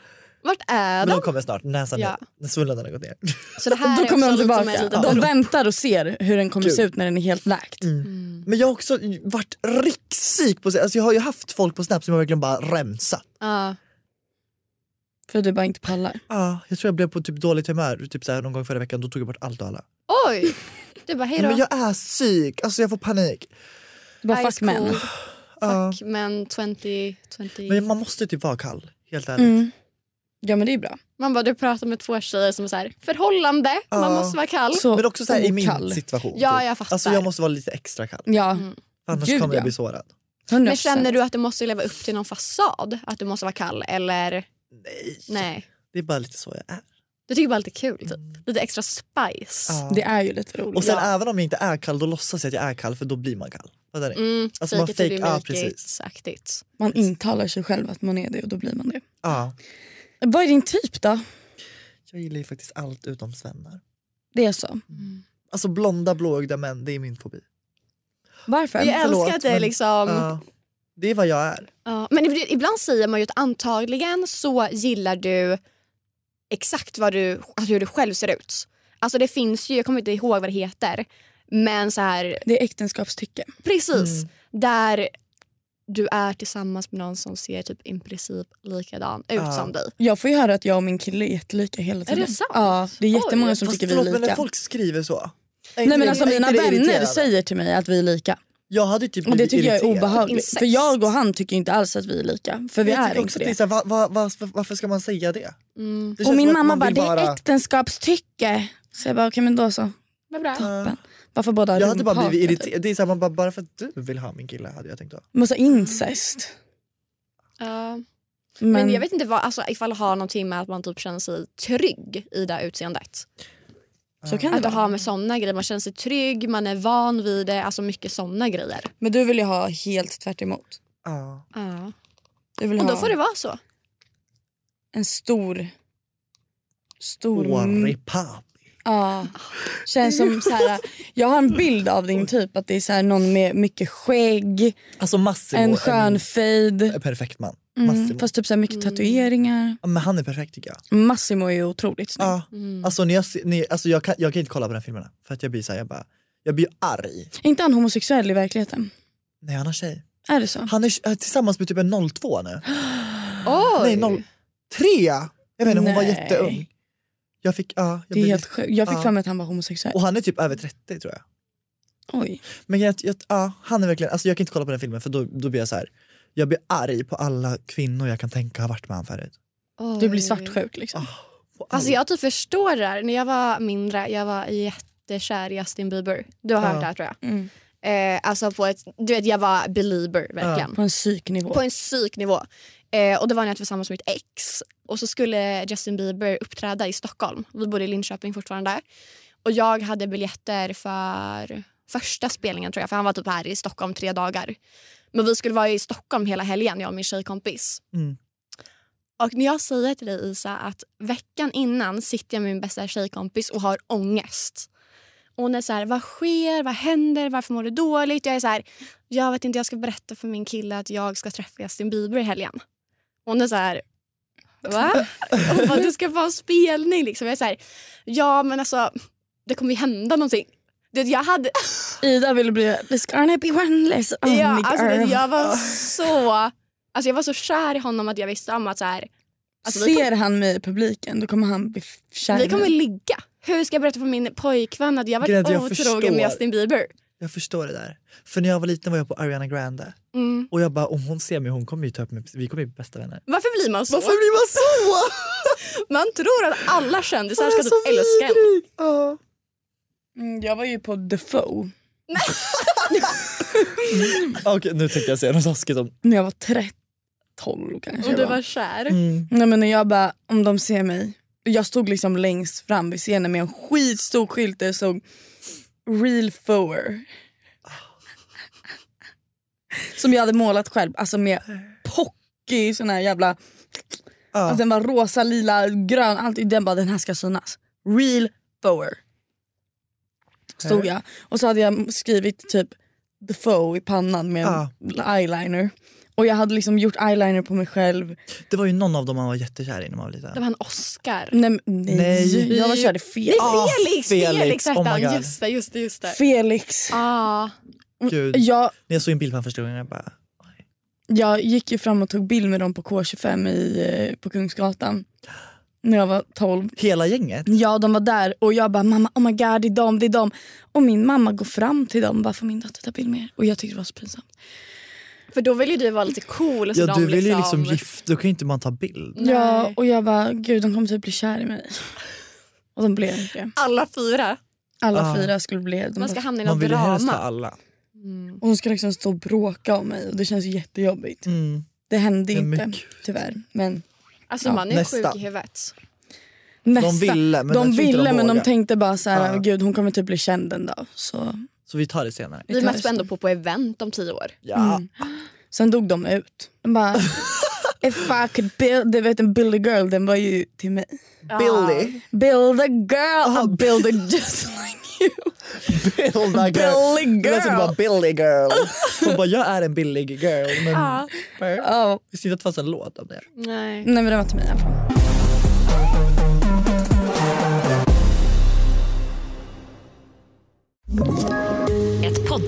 Speaker 3: Vart är
Speaker 2: Men de
Speaker 3: de?
Speaker 2: kommer snart. Näsan
Speaker 3: Ja.
Speaker 2: är, svullnaden har gått ner.
Speaker 3: Så det här
Speaker 4: Då
Speaker 3: är
Speaker 4: kommer de
Speaker 3: också lite som
Speaker 4: tillbaka.
Speaker 3: en liten
Speaker 4: De
Speaker 3: drop.
Speaker 4: väntar och ser hur den kommer
Speaker 2: Kul.
Speaker 4: se ut när den är helt läkt.
Speaker 3: Mm.
Speaker 2: Men jag har också varit riksig på alltså jag har ju haft folk på Snap som jag verkligen bara rensat.
Speaker 3: Ja.
Speaker 4: För du bara inte pallar.
Speaker 2: Ah, jag tror jag blev på typ dåligt humör typ så här någon gång förra veckan, då tog jag bort allt och alla.
Speaker 3: Oj! Du bara hej då.
Speaker 2: Men jag är psyk, alltså jag får panik.
Speaker 4: Du bara
Speaker 3: Ice
Speaker 4: fuck men.
Speaker 3: cold.
Speaker 2: Ja.
Speaker 3: Fuck men 20, 20.
Speaker 2: Men man måste typ vara kall, helt ärligt.
Speaker 4: Mm. Ja men det är bra.
Speaker 3: Man bara du pratar med två tjejer som är så här, förhållande, man
Speaker 2: Ja.
Speaker 3: måste vara kall.
Speaker 4: Så
Speaker 2: Men också så här, i min
Speaker 4: okall.
Speaker 2: situation.
Speaker 3: Ja,
Speaker 2: typ.
Speaker 3: jag fattar.
Speaker 2: Alltså jag måste vara lite extra kall,
Speaker 4: Ja,
Speaker 2: annars
Speaker 4: Gud,
Speaker 2: kommer
Speaker 4: ja.
Speaker 2: jag bli sårad.
Speaker 4: 100%.
Speaker 3: Men känner du att du måste leva upp till någon fasad? Att du måste vara kall eller?
Speaker 2: Nej.
Speaker 3: Nej.
Speaker 2: Det är bara lite så jag är.
Speaker 3: Du tycker bara lite kul typ. Lite extra spice.
Speaker 2: Mm. Ja.
Speaker 4: Det är ju lite roligt.
Speaker 2: Och sen
Speaker 4: ja.
Speaker 2: även om jag inte är kall, då låtsas jag att jag är kall för då blir man kall. Fattar ni?
Speaker 3: Mm,
Speaker 2: Alltså, man
Speaker 3: fake it till
Speaker 2: fake-
Speaker 3: you
Speaker 2: ja,
Speaker 3: make it,
Speaker 2: precis.
Speaker 3: aktigt.
Speaker 4: Man intalar sig själv att man är det och då blir man det.
Speaker 2: Ja.
Speaker 4: Vad är din typ då?
Speaker 2: Jag gillar ju faktiskt allt utom svennar.
Speaker 4: Det är så.
Speaker 2: Alltså blonda blåögda män, det är min fobi.
Speaker 4: Varför?
Speaker 3: Jag
Speaker 2: förlåt,
Speaker 3: älskar att det är
Speaker 2: men-
Speaker 3: liksom...
Speaker 2: Ja, det är vad jag är.
Speaker 3: ja. Men ibland- ibland säger man ju att antagligen så gillar du exakt vad du, alltså hur du själv ser ut. Alltså det finns ju, jag kommer inte ihåg vad det heter, men så här
Speaker 4: Det är äktenskapstycke.
Speaker 3: Precis. Där du är tillsammans med någon som ser typ i princip likadan ut
Speaker 2: Ja.
Speaker 3: som dig.
Speaker 4: Jag får ju höra att jag och min kille är jättelika hela tiden.
Speaker 3: det sant?
Speaker 4: Ja, det är jättemånga som
Speaker 2: Fast
Speaker 4: tycker vi
Speaker 2: förlåt
Speaker 4: är
Speaker 2: men när
Speaker 4: lika.
Speaker 2: folk skriver så,
Speaker 4: Nej men alltså
Speaker 2: Jag är
Speaker 4: mina
Speaker 2: inte det
Speaker 4: vänner
Speaker 2: irriterande.
Speaker 4: säger till mig att vi är lika.
Speaker 2: Jag hade typ
Speaker 4: Och det
Speaker 2: blivit
Speaker 4: tycker jag är
Speaker 2: irriterad.
Speaker 4: obehagligt.
Speaker 3: Incest.
Speaker 4: För jag och han tycker inte alls att vi är lika. För vi
Speaker 2: jag
Speaker 4: är
Speaker 2: tycker
Speaker 4: inte
Speaker 2: också att det
Speaker 4: det.
Speaker 2: är så här, va, va, va, varför ska man säga det?
Speaker 3: Mm.
Speaker 2: det
Speaker 4: Och
Speaker 2: känns
Speaker 4: min
Speaker 2: som att
Speaker 4: mamma
Speaker 2: man
Speaker 4: bara,
Speaker 2: vill
Speaker 4: det är äktenskapstycke. Så jag bara, okej men då så.
Speaker 3: Vad bra.
Speaker 4: Toppen. Varför båda
Speaker 2: Jag hade bara
Speaker 4: rumphatar,
Speaker 2: blivit
Speaker 4: typ?
Speaker 2: irriterad. Det är så här, man bara, bara för att du vill ha min kille hade jag tänkt då.
Speaker 4: Men så incest.
Speaker 3: Ja.
Speaker 4: Men,
Speaker 3: Men jag vet inte vad, alltså, ifall det har någonting med att man typ känner sig trygg i det här utseendet.
Speaker 4: så kan det
Speaker 3: Att det har
Speaker 4: vara.
Speaker 3: med såna grejer, man känner sig trygg, man är van vid det, alltså mycket såna grejer.
Speaker 4: Men du vill ju ha helt tvärt emot.
Speaker 2: Ja.
Speaker 3: Ja.
Speaker 4: Du vill
Speaker 3: Och då
Speaker 4: ha
Speaker 3: får det vara så.
Speaker 4: en stor... Stor...
Speaker 2: Åre papi.
Speaker 4: Ja. Känns som så här, jag har en bild av din typ att det är så här någon med mycket skägg,
Speaker 2: Alltså massor.
Speaker 4: en skön fade.
Speaker 2: En perfekt man.
Speaker 4: Mm,
Speaker 2: Massimo.
Speaker 4: fast typ så här mycket tatueringar.
Speaker 2: Ja, Men han är perfekt tycker jag.
Speaker 4: Massimo är ju otroligt snygg.
Speaker 2: Ja.
Speaker 3: Mm.
Speaker 2: Alltså, när jag, se- när, alltså jag, kan, jag kan inte kolla på den filmen för att jag blir så här, jag bara, jag blir arg.
Speaker 4: Är inte han homosexuell i verkligen?
Speaker 2: Nej han har tjej.
Speaker 4: Är det så?
Speaker 2: Han är eh, tillsammans med typ en 02 nu.
Speaker 3: Oj!
Speaker 2: Nej 03! Jag menar hon var
Speaker 4: Nej.
Speaker 2: jätteung. Jag fick, ja. jag
Speaker 4: Det är
Speaker 2: blev
Speaker 4: helt sjukt. Jag fick
Speaker 2: Ja.
Speaker 4: för mig att han var homosexuell.
Speaker 2: Och han är typ över 30 tror jag.
Speaker 4: Oj.
Speaker 2: Men jag, jag, ja, han är verkligen, alltså jag kan inte kolla på den filmen för då, då blir jag så här. Jag blir arg på alla kvinnor jag kan tänka har varit med han förut.
Speaker 4: Du blir svartsjuk liksom.
Speaker 2: På
Speaker 3: Alltså
Speaker 2: alla.
Speaker 3: jag typ förstår det här. När jag var mindre, jag var jättekär i Justin Bieber. Du har
Speaker 2: Ja.
Speaker 3: hört det här tror jag.
Speaker 4: Mm.
Speaker 3: Eh, alltså på ett, du vet jag var belieber verkligen.
Speaker 4: På en psyknivå.
Speaker 3: På en psyknivå. Eh, och det var när jag var tillsammans med mitt ex. Och så skulle Justin Bieber uppträda i Stockholm. Vi bodde i Linköping fortfarande. Och jag hade biljetter för första spelningen tror jag. För han var typ här i Stockholm tre dagar. Men vi skulle vara i Stockholm hela helgen, jag och min tjejkompis.
Speaker 2: Mm.
Speaker 3: Och när jag säger till dig Isa att veckan innan sitter jag med min bästa tjejkompis och har ångest. Och hon är så här, vad sker, vad händer, varför mår du dåligt? Jag är så här, jag vet inte, jag ska berätta för min kille att jag ska träffa Justin Bieber i helgen. Hon är så här, va? Hon bara, du ska få ha spelning liksom. Jag är så här, ja men alltså, det kommer ju hända någonting. Det, jag hade,
Speaker 4: Ida ville bli It's gonna be one less
Speaker 2: Oh
Speaker 4: on
Speaker 3: ja,
Speaker 4: the
Speaker 3: alltså, det,
Speaker 4: girl.
Speaker 3: jag var så, alltså jag var så kär i honom att jag visste om att så här, alltså, vi
Speaker 4: Ser han mig i publiken då kommer han bli f- kär
Speaker 3: Vi kommer
Speaker 4: i mig.
Speaker 3: ligga. Hur ska jag berätta för min pojkvän att jag har
Speaker 2: Grejen
Speaker 3: varit
Speaker 2: är att jag
Speaker 3: otrogen med
Speaker 2: förstår.
Speaker 3: Justin Bieber?
Speaker 2: Jag förstår det där. För när jag var liten var jag på Ariana Grande.
Speaker 3: Mm.
Speaker 2: Och jag bara om hon ser mig hon kommer ju ta upp mig, vi kommer ju bli bästa vänner.
Speaker 3: Varför blir man så?
Speaker 2: Varför blir man så?
Speaker 3: Man tror att alla kändisar
Speaker 2: Man
Speaker 3: ska
Speaker 2: är så
Speaker 3: typ älska en.
Speaker 2: vidrig. Ja.
Speaker 4: Mm, jag var ju på The Foe
Speaker 2: Okej nu tänkte jag säga något taskigt om...
Speaker 4: när jag var 13 12 kanske.
Speaker 3: Om du
Speaker 4: jag
Speaker 3: var kär.
Speaker 2: Mm.
Speaker 4: Nej, men när jag bara, om de ser mig. Jag stod liksom längst fram vid scenen med en skitstor skylt där det stod Real Foer. Som jag hade målat själv, alltså med pocky sån här jävla
Speaker 2: Ja.
Speaker 4: Alltså den var rosa, lila, grön, allt. Den bara den här ska synas. Real Foer. Stod jag. Och så hade jag skrivit typ the foe i pannan med
Speaker 2: Ja.
Speaker 4: en eyeliner. Och jag hade liksom gjort eyeliner på mig själv.
Speaker 2: Det var ju någon av dem man var jättekär i när man var liten.
Speaker 3: Det var en Oscar.
Speaker 4: Nej, men- nej.
Speaker 2: Nej.
Speaker 4: jag var körde fel.
Speaker 2: Ah,
Speaker 3: Felix!
Speaker 2: Felix,
Speaker 3: Felix hette
Speaker 2: oh my
Speaker 3: han.
Speaker 2: God.
Speaker 3: just det, just det. Just det.
Speaker 4: Felix.
Speaker 3: Ah.
Speaker 2: Gud.
Speaker 4: Jag,
Speaker 2: När jag såg en bild på honom första gången jag bara...
Speaker 4: jag gick ju fram och tog bild med dem på K25 i, eh, på Kungsgatan. När jag var 12.
Speaker 2: Hela gänget?
Speaker 4: Ja, de var där och jag bara mamma, oh my god, det är dem, det är dem. Och min mamma går fram till dem bara får min dotter ta bild med er? Och jag tyckte det var så pinsamt.
Speaker 3: För då vill ju du vara lite cool. Så
Speaker 2: Ja
Speaker 3: de
Speaker 2: du vill ju
Speaker 3: liksom...
Speaker 2: liksom gifta, då kan ju inte man ta bild.
Speaker 3: Nej.
Speaker 4: Ja, och jag bara gud de kommer typ bli kär i mig. Och de blev inte det.
Speaker 3: Alla fyra.
Speaker 4: Alla
Speaker 2: Ah.
Speaker 4: fyra skulle bli de
Speaker 3: Man
Speaker 4: bara,
Speaker 3: ska hamna i
Speaker 2: Man
Speaker 3: något
Speaker 2: vill ju helst ha
Speaker 3: drama.
Speaker 2: alla.
Speaker 3: Mm.
Speaker 4: Och de ska liksom stå och bråka om mig och det känns ju jättejobbigt.
Speaker 2: Mm.
Speaker 4: Det hände
Speaker 2: Ja, men
Speaker 4: inte
Speaker 2: gud.
Speaker 4: tyvärr. Men
Speaker 3: Alltså
Speaker 4: Ja,
Speaker 3: man är
Speaker 2: nästa.
Speaker 3: sjuk i huvudet.
Speaker 4: nästa.
Speaker 2: De ville men,
Speaker 4: de,
Speaker 2: jag tror inte
Speaker 4: ville, men de
Speaker 2: vågar. Ah.
Speaker 4: tänkte bara så här,
Speaker 2: Ja.
Speaker 4: gud hon kommer typ bli känd en dag. Så
Speaker 2: Så vi tar det senare.
Speaker 4: tar
Speaker 3: Vi
Speaker 4: det
Speaker 3: möts ändå
Speaker 4: sen.
Speaker 3: på på event om tio år.
Speaker 2: Ja.
Speaker 4: Mm. Sen dog de ut. De bara, if I could build, du vet en Billy girl den var ju till mig.
Speaker 2: Billy.
Speaker 4: Build a girl,
Speaker 2: Ah,
Speaker 4: I build it just like you.
Speaker 2: Bilda girl.
Speaker 4: Billy
Speaker 2: Jag läste bara
Speaker 4: girl.
Speaker 2: Billy girl. Hon bara jag är en billig girl. Men
Speaker 3: Ja.
Speaker 4: Ja.
Speaker 2: visste inte att det fanns en låt om det.
Speaker 3: Nej.
Speaker 4: Nej men den var till mig i alla fall.
Speaker 1: Ett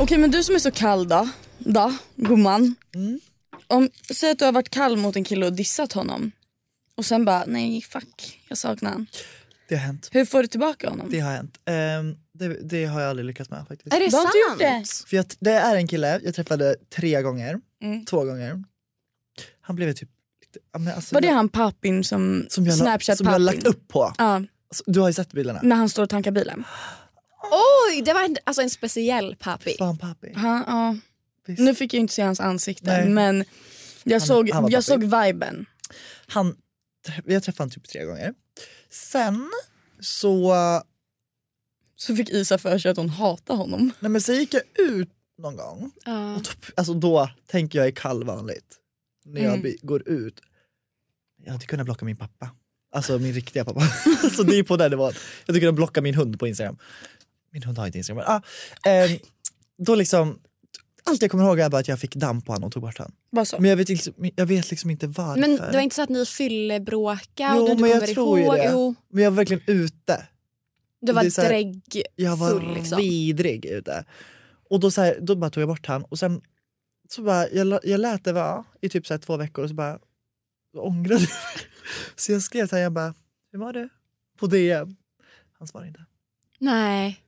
Speaker 4: Okej men du som är så kall då, då gumman.
Speaker 2: Mm.
Speaker 4: Om, säg att du har varit kall mot en kille och dissat honom. Och sen bara nej fuck jag saknar han.
Speaker 2: Det har hänt.
Speaker 4: Hur får du tillbaka honom?
Speaker 2: Det har hänt. Ehm, det, det har jag aldrig lyckats med faktiskt.
Speaker 3: Är det
Speaker 4: Du har
Speaker 3: sant?
Speaker 4: inte gjort det?
Speaker 2: För jag, det är en kille jag träffade tre gånger,
Speaker 4: Mm.
Speaker 2: två gånger. Han blev ju typ lite... ja, men Alltså,
Speaker 4: Var det
Speaker 2: jag,
Speaker 4: han pappin som,
Speaker 2: som jag, la,
Speaker 4: snapchat Mm.
Speaker 2: som jag lagt
Speaker 4: pappin?
Speaker 2: upp på.
Speaker 4: Ja,
Speaker 2: Alltså, du har ju sett bilderna.
Speaker 4: när han står och tankar bilen.
Speaker 3: Oj, det var en, alltså en speciell pappi.
Speaker 2: Fan pappi.
Speaker 4: Han, ja.
Speaker 2: Visst.
Speaker 4: Mm. Nu fick jag inte se hans ansikte
Speaker 2: Nej.
Speaker 4: men jag,
Speaker 2: Han-
Speaker 4: såg,
Speaker 2: han var
Speaker 4: jag såg
Speaker 2: pappig.
Speaker 4: viben.
Speaker 2: han, jag träffade honom typ tre gånger. Sen så,
Speaker 4: Så fick Isa för sig att hon hatar honom.
Speaker 2: nej men sen gick jag ut någon gång.
Speaker 3: Ja.
Speaker 2: Och då, alltså då tänker jag är kall vanligt. När jag
Speaker 4: Mm.
Speaker 2: bi- går ut. Jag hade kunnat blocka min pappa. Alltså min riktiga pappa. alltså det är på den nivån. Jag hade kunnat blocka min hund på Instagram. Min hund har inte Instagram. men, Ah, ehm, då liksom, allt jag kommer ihåg är bara att jag fick damm på honom och tog bort honom.
Speaker 4: Bara så.
Speaker 2: Men jag vet, liksom, jag vet liksom inte varför.
Speaker 3: Men det var inte så att ni fyllebråkade
Speaker 2: Jo,
Speaker 3: och du inte
Speaker 2: men jag
Speaker 3: kommer
Speaker 2: tror ju
Speaker 3: ihåg?
Speaker 2: det.
Speaker 3: Jo,
Speaker 2: Men jag var verkligen ute.
Speaker 3: du var
Speaker 2: Det är så här-
Speaker 3: drägg.
Speaker 2: Jag var
Speaker 3: full, liksom.
Speaker 2: vidrig ute. Och då, så här, då bara tog jag bort han och sen så bara, jag, la- jag lät det vara i typ så här två veckor och så bara då ångrade jag mig. Så jag skrev så här, jag bara, hur mår du? På DM. Han svarade inte.
Speaker 3: Nej.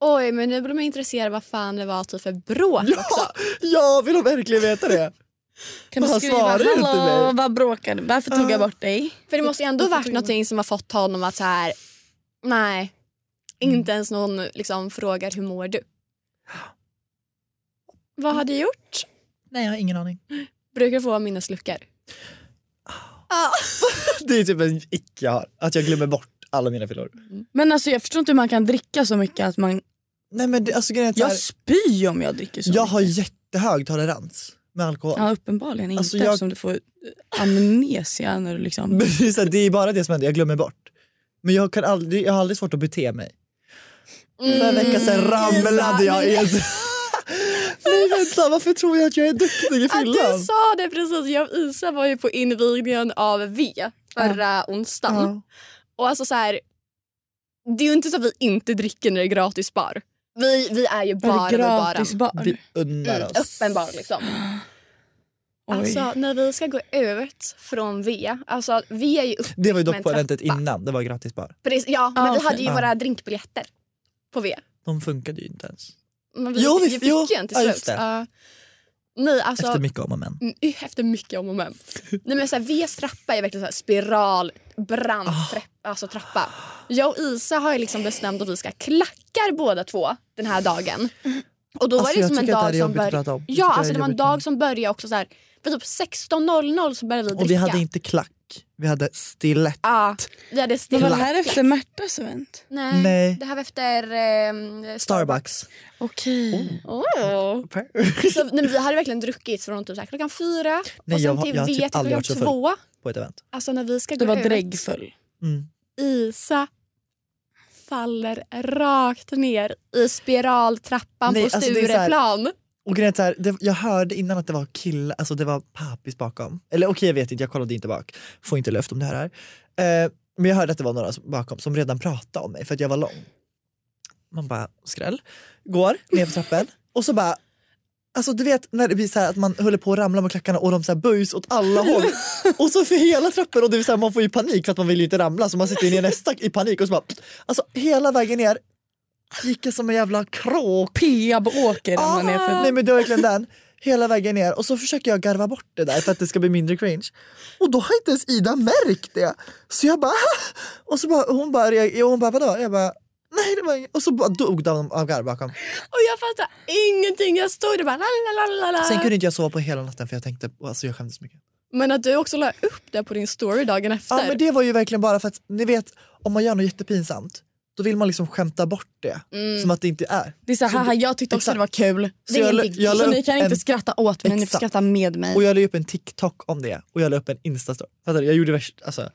Speaker 3: Oj, men nu blir man intresserad vad fan det var typ för bråk också.
Speaker 2: Ja, jag vill verkligen veta det.
Speaker 4: Kan du
Speaker 2: Han
Speaker 4: skriva
Speaker 2: svarar inte
Speaker 4: hallå
Speaker 2: mig."
Speaker 4: vad bråkar du? Varför tog
Speaker 2: Ja.
Speaker 4: jag bort dig?
Speaker 3: För det måste ju ändå varit någonting som har fått honom att så här, nej, inte ens någon liksom frågar hur mår du? Vad har du gjort?
Speaker 2: Nej, jag har ingen aning.
Speaker 3: Brukar du få minnesluckor? Ja.
Speaker 2: Det är typ en ick jag har, att jag glömmer bort alla mina fyllor.
Speaker 4: Men alltså jag förstår inte hur man kan dricka så mycket att man...
Speaker 2: Nej men det, alltså grejen är att så
Speaker 4: Jag
Speaker 2: här,
Speaker 4: spyr om jag dricker så
Speaker 2: jag
Speaker 4: mycket.
Speaker 2: har jättehög tolerans med alkohol.
Speaker 4: Ja uppenbarligen inte
Speaker 2: Alltså, jag-
Speaker 4: eftersom du får amnesia när du
Speaker 2: Men
Speaker 4: liksom...
Speaker 2: det, är så här, det är bara det som händer, jag glömmer bort. Men jag, kan aldrig, jag har aldrig svårt att bete mig.
Speaker 3: Mm.
Speaker 2: För en vecka sedan ramlade jag i ett... Nej vänta, varför tror jag att jag är duktig i
Speaker 3: Att du
Speaker 2: fyllan?
Speaker 3: sa det precis. Jag och Isa var ju på invigningen av V förra onsdagen.
Speaker 2: Ja.
Speaker 3: Och alltså så här, det är ju inte så att vi inte dricker när det är gratis bar. Vi, vi är ju bara
Speaker 4: Var
Speaker 3: på
Speaker 4: det
Speaker 3: baren.
Speaker 4: gratis bar?
Speaker 2: Vi unnar
Speaker 3: Mm,
Speaker 2: oss.
Speaker 3: öppen bar liksom.
Speaker 4: Oj.
Speaker 3: Alltså när vi ska gå ut från V, alltså vi är ju uppe
Speaker 2: Det var ju dock
Speaker 3: Men
Speaker 2: på eventet
Speaker 3: trappa.
Speaker 2: innan, det var gratis bara.
Speaker 3: på det, ja men
Speaker 4: Ah,
Speaker 3: vi
Speaker 4: okej.
Speaker 3: hade ju
Speaker 2: Ah.
Speaker 3: våra drinkbiljetter på V.
Speaker 2: De funkade ju inte ens.
Speaker 3: Men vi,
Speaker 2: Jo, vi-
Speaker 3: vi fick
Speaker 2: jo,
Speaker 3: ju en till
Speaker 2: ja,
Speaker 3: slut.
Speaker 2: just det.
Speaker 3: Ja. nej alltså,
Speaker 2: Efter mycket om och men.
Speaker 3: Mm, usch, efter mycket om och men. Nej, men så här, Vs trappa är verkligen så här spiral, brant
Speaker 2: Ah.
Speaker 3: trapp- alltså, trappa. Jag och Isa har ju liksom bestämt att vi ska klackar båda två den här dagen. Och då
Speaker 2: Alltså,
Speaker 3: var det
Speaker 2: jag
Speaker 3: som en
Speaker 2: tycker att det här
Speaker 3: dag
Speaker 2: är
Speaker 3: som
Speaker 2: jobbigt att
Speaker 3: började...
Speaker 2: prata om. Jag tycker
Speaker 3: Ja,
Speaker 2: det
Speaker 3: alltså
Speaker 2: är
Speaker 3: det var en
Speaker 2: jobbigt.
Speaker 3: dag som började också så här... För typ 16.00 så började vi dricka.
Speaker 2: Och vi hade inte klack, vi hade stilett.
Speaker 3: Ja, vi hade
Speaker 4: Men var det
Speaker 3: stilla.
Speaker 4: här efter Märtas event?
Speaker 3: Nej,
Speaker 2: Nej.
Speaker 3: det här var efter... ehm,
Speaker 2: Starbucks.
Speaker 4: Okej.
Speaker 3: Oh. Så, nej, men vi hade verkligen druckit från typ så här klockan fyra
Speaker 2: Nej, jag
Speaker 3: och sen
Speaker 2: har-
Speaker 3: till
Speaker 2: jag har
Speaker 3: V
Speaker 2: typ
Speaker 3: till
Speaker 2: aldrig
Speaker 3: klockan
Speaker 2: varit så full.
Speaker 3: två.
Speaker 2: På ett event.
Speaker 3: Alltså när vi ska
Speaker 4: Du
Speaker 3: gå
Speaker 4: var
Speaker 3: ut.
Speaker 4: dräggfull.
Speaker 2: Mm.
Speaker 3: Isa faller rakt ner i spiraltrappan
Speaker 2: Nej,
Speaker 3: på
Speaker 2: alltså det är så här-
Speaker 3: Stureplan.
Speaker 2: Och grejen är så här, det, jag hörde innan att det var kill, alltså det var pappis bakom. Eller okej jag vet inte, jag kollade inte bak. Får inte löft om det här. är. Eh, men jag hörde att det var några som- bakom som redan pratade om mig för att jag var lång. Man bara skräll. Går ner för trappen och så bara Alltså du vet när det blir så här att man håller på att ramla med klackarna och de så här böjs åt alla håll. Och så för hela trappen och det är så här, man får ju panik för att man vill ju inte ramla så man sitter ner nästa i panik och så bara Alltså hela vägen ner gick jag som en jävla kråk
Speaker 4: Peab åker ramlar ner för...
Speaker 2: Nej men det var verkligen den. Hela vägen ner och så försöker jag garva bort det där för att det ska bli mindre cringe. Och då har inte ens Ida märkt det. Så jag bara... Och så bara, hon bara, reager- och hon bara vadå? Jag bara nej det var inget. Och så bara dog de av garv bakom.
Speaker 3: Och jag fattar ingenting. Jag stod där bara la, la, la, la, la.
Speaker 2: Sen kunde inte jag sova på hela natten för jag tänkte, alltså jag skämdes så mycket.
Speaker 3: Men att du också la upp det på din story dagen efter.
Speaker 2: Ja men det var ju verkligen bara för att ni vet om man gör något jättepinsamt då vill man liksom skämta bort det som att det inte är.
Speaker 4: Det är så här, haha, jag tyckte också
Speaker 2: exakt.
Speaker 4: det var kul.
Speaker 2: Så jag la- jag la
Speaker 4: så ni
Speaker 2: upp
Speaker 4: kan inte
Speaker 2: en-
Speaker 4: skratta åt mig, ni får
Speaker 2: Exakt.
Speaker 4: skratta med mig.
Speaker 2: Och jag la upp en TikTok om det och jag la upp en Instastory. Fattar du? Jag gjorde värst, alltså.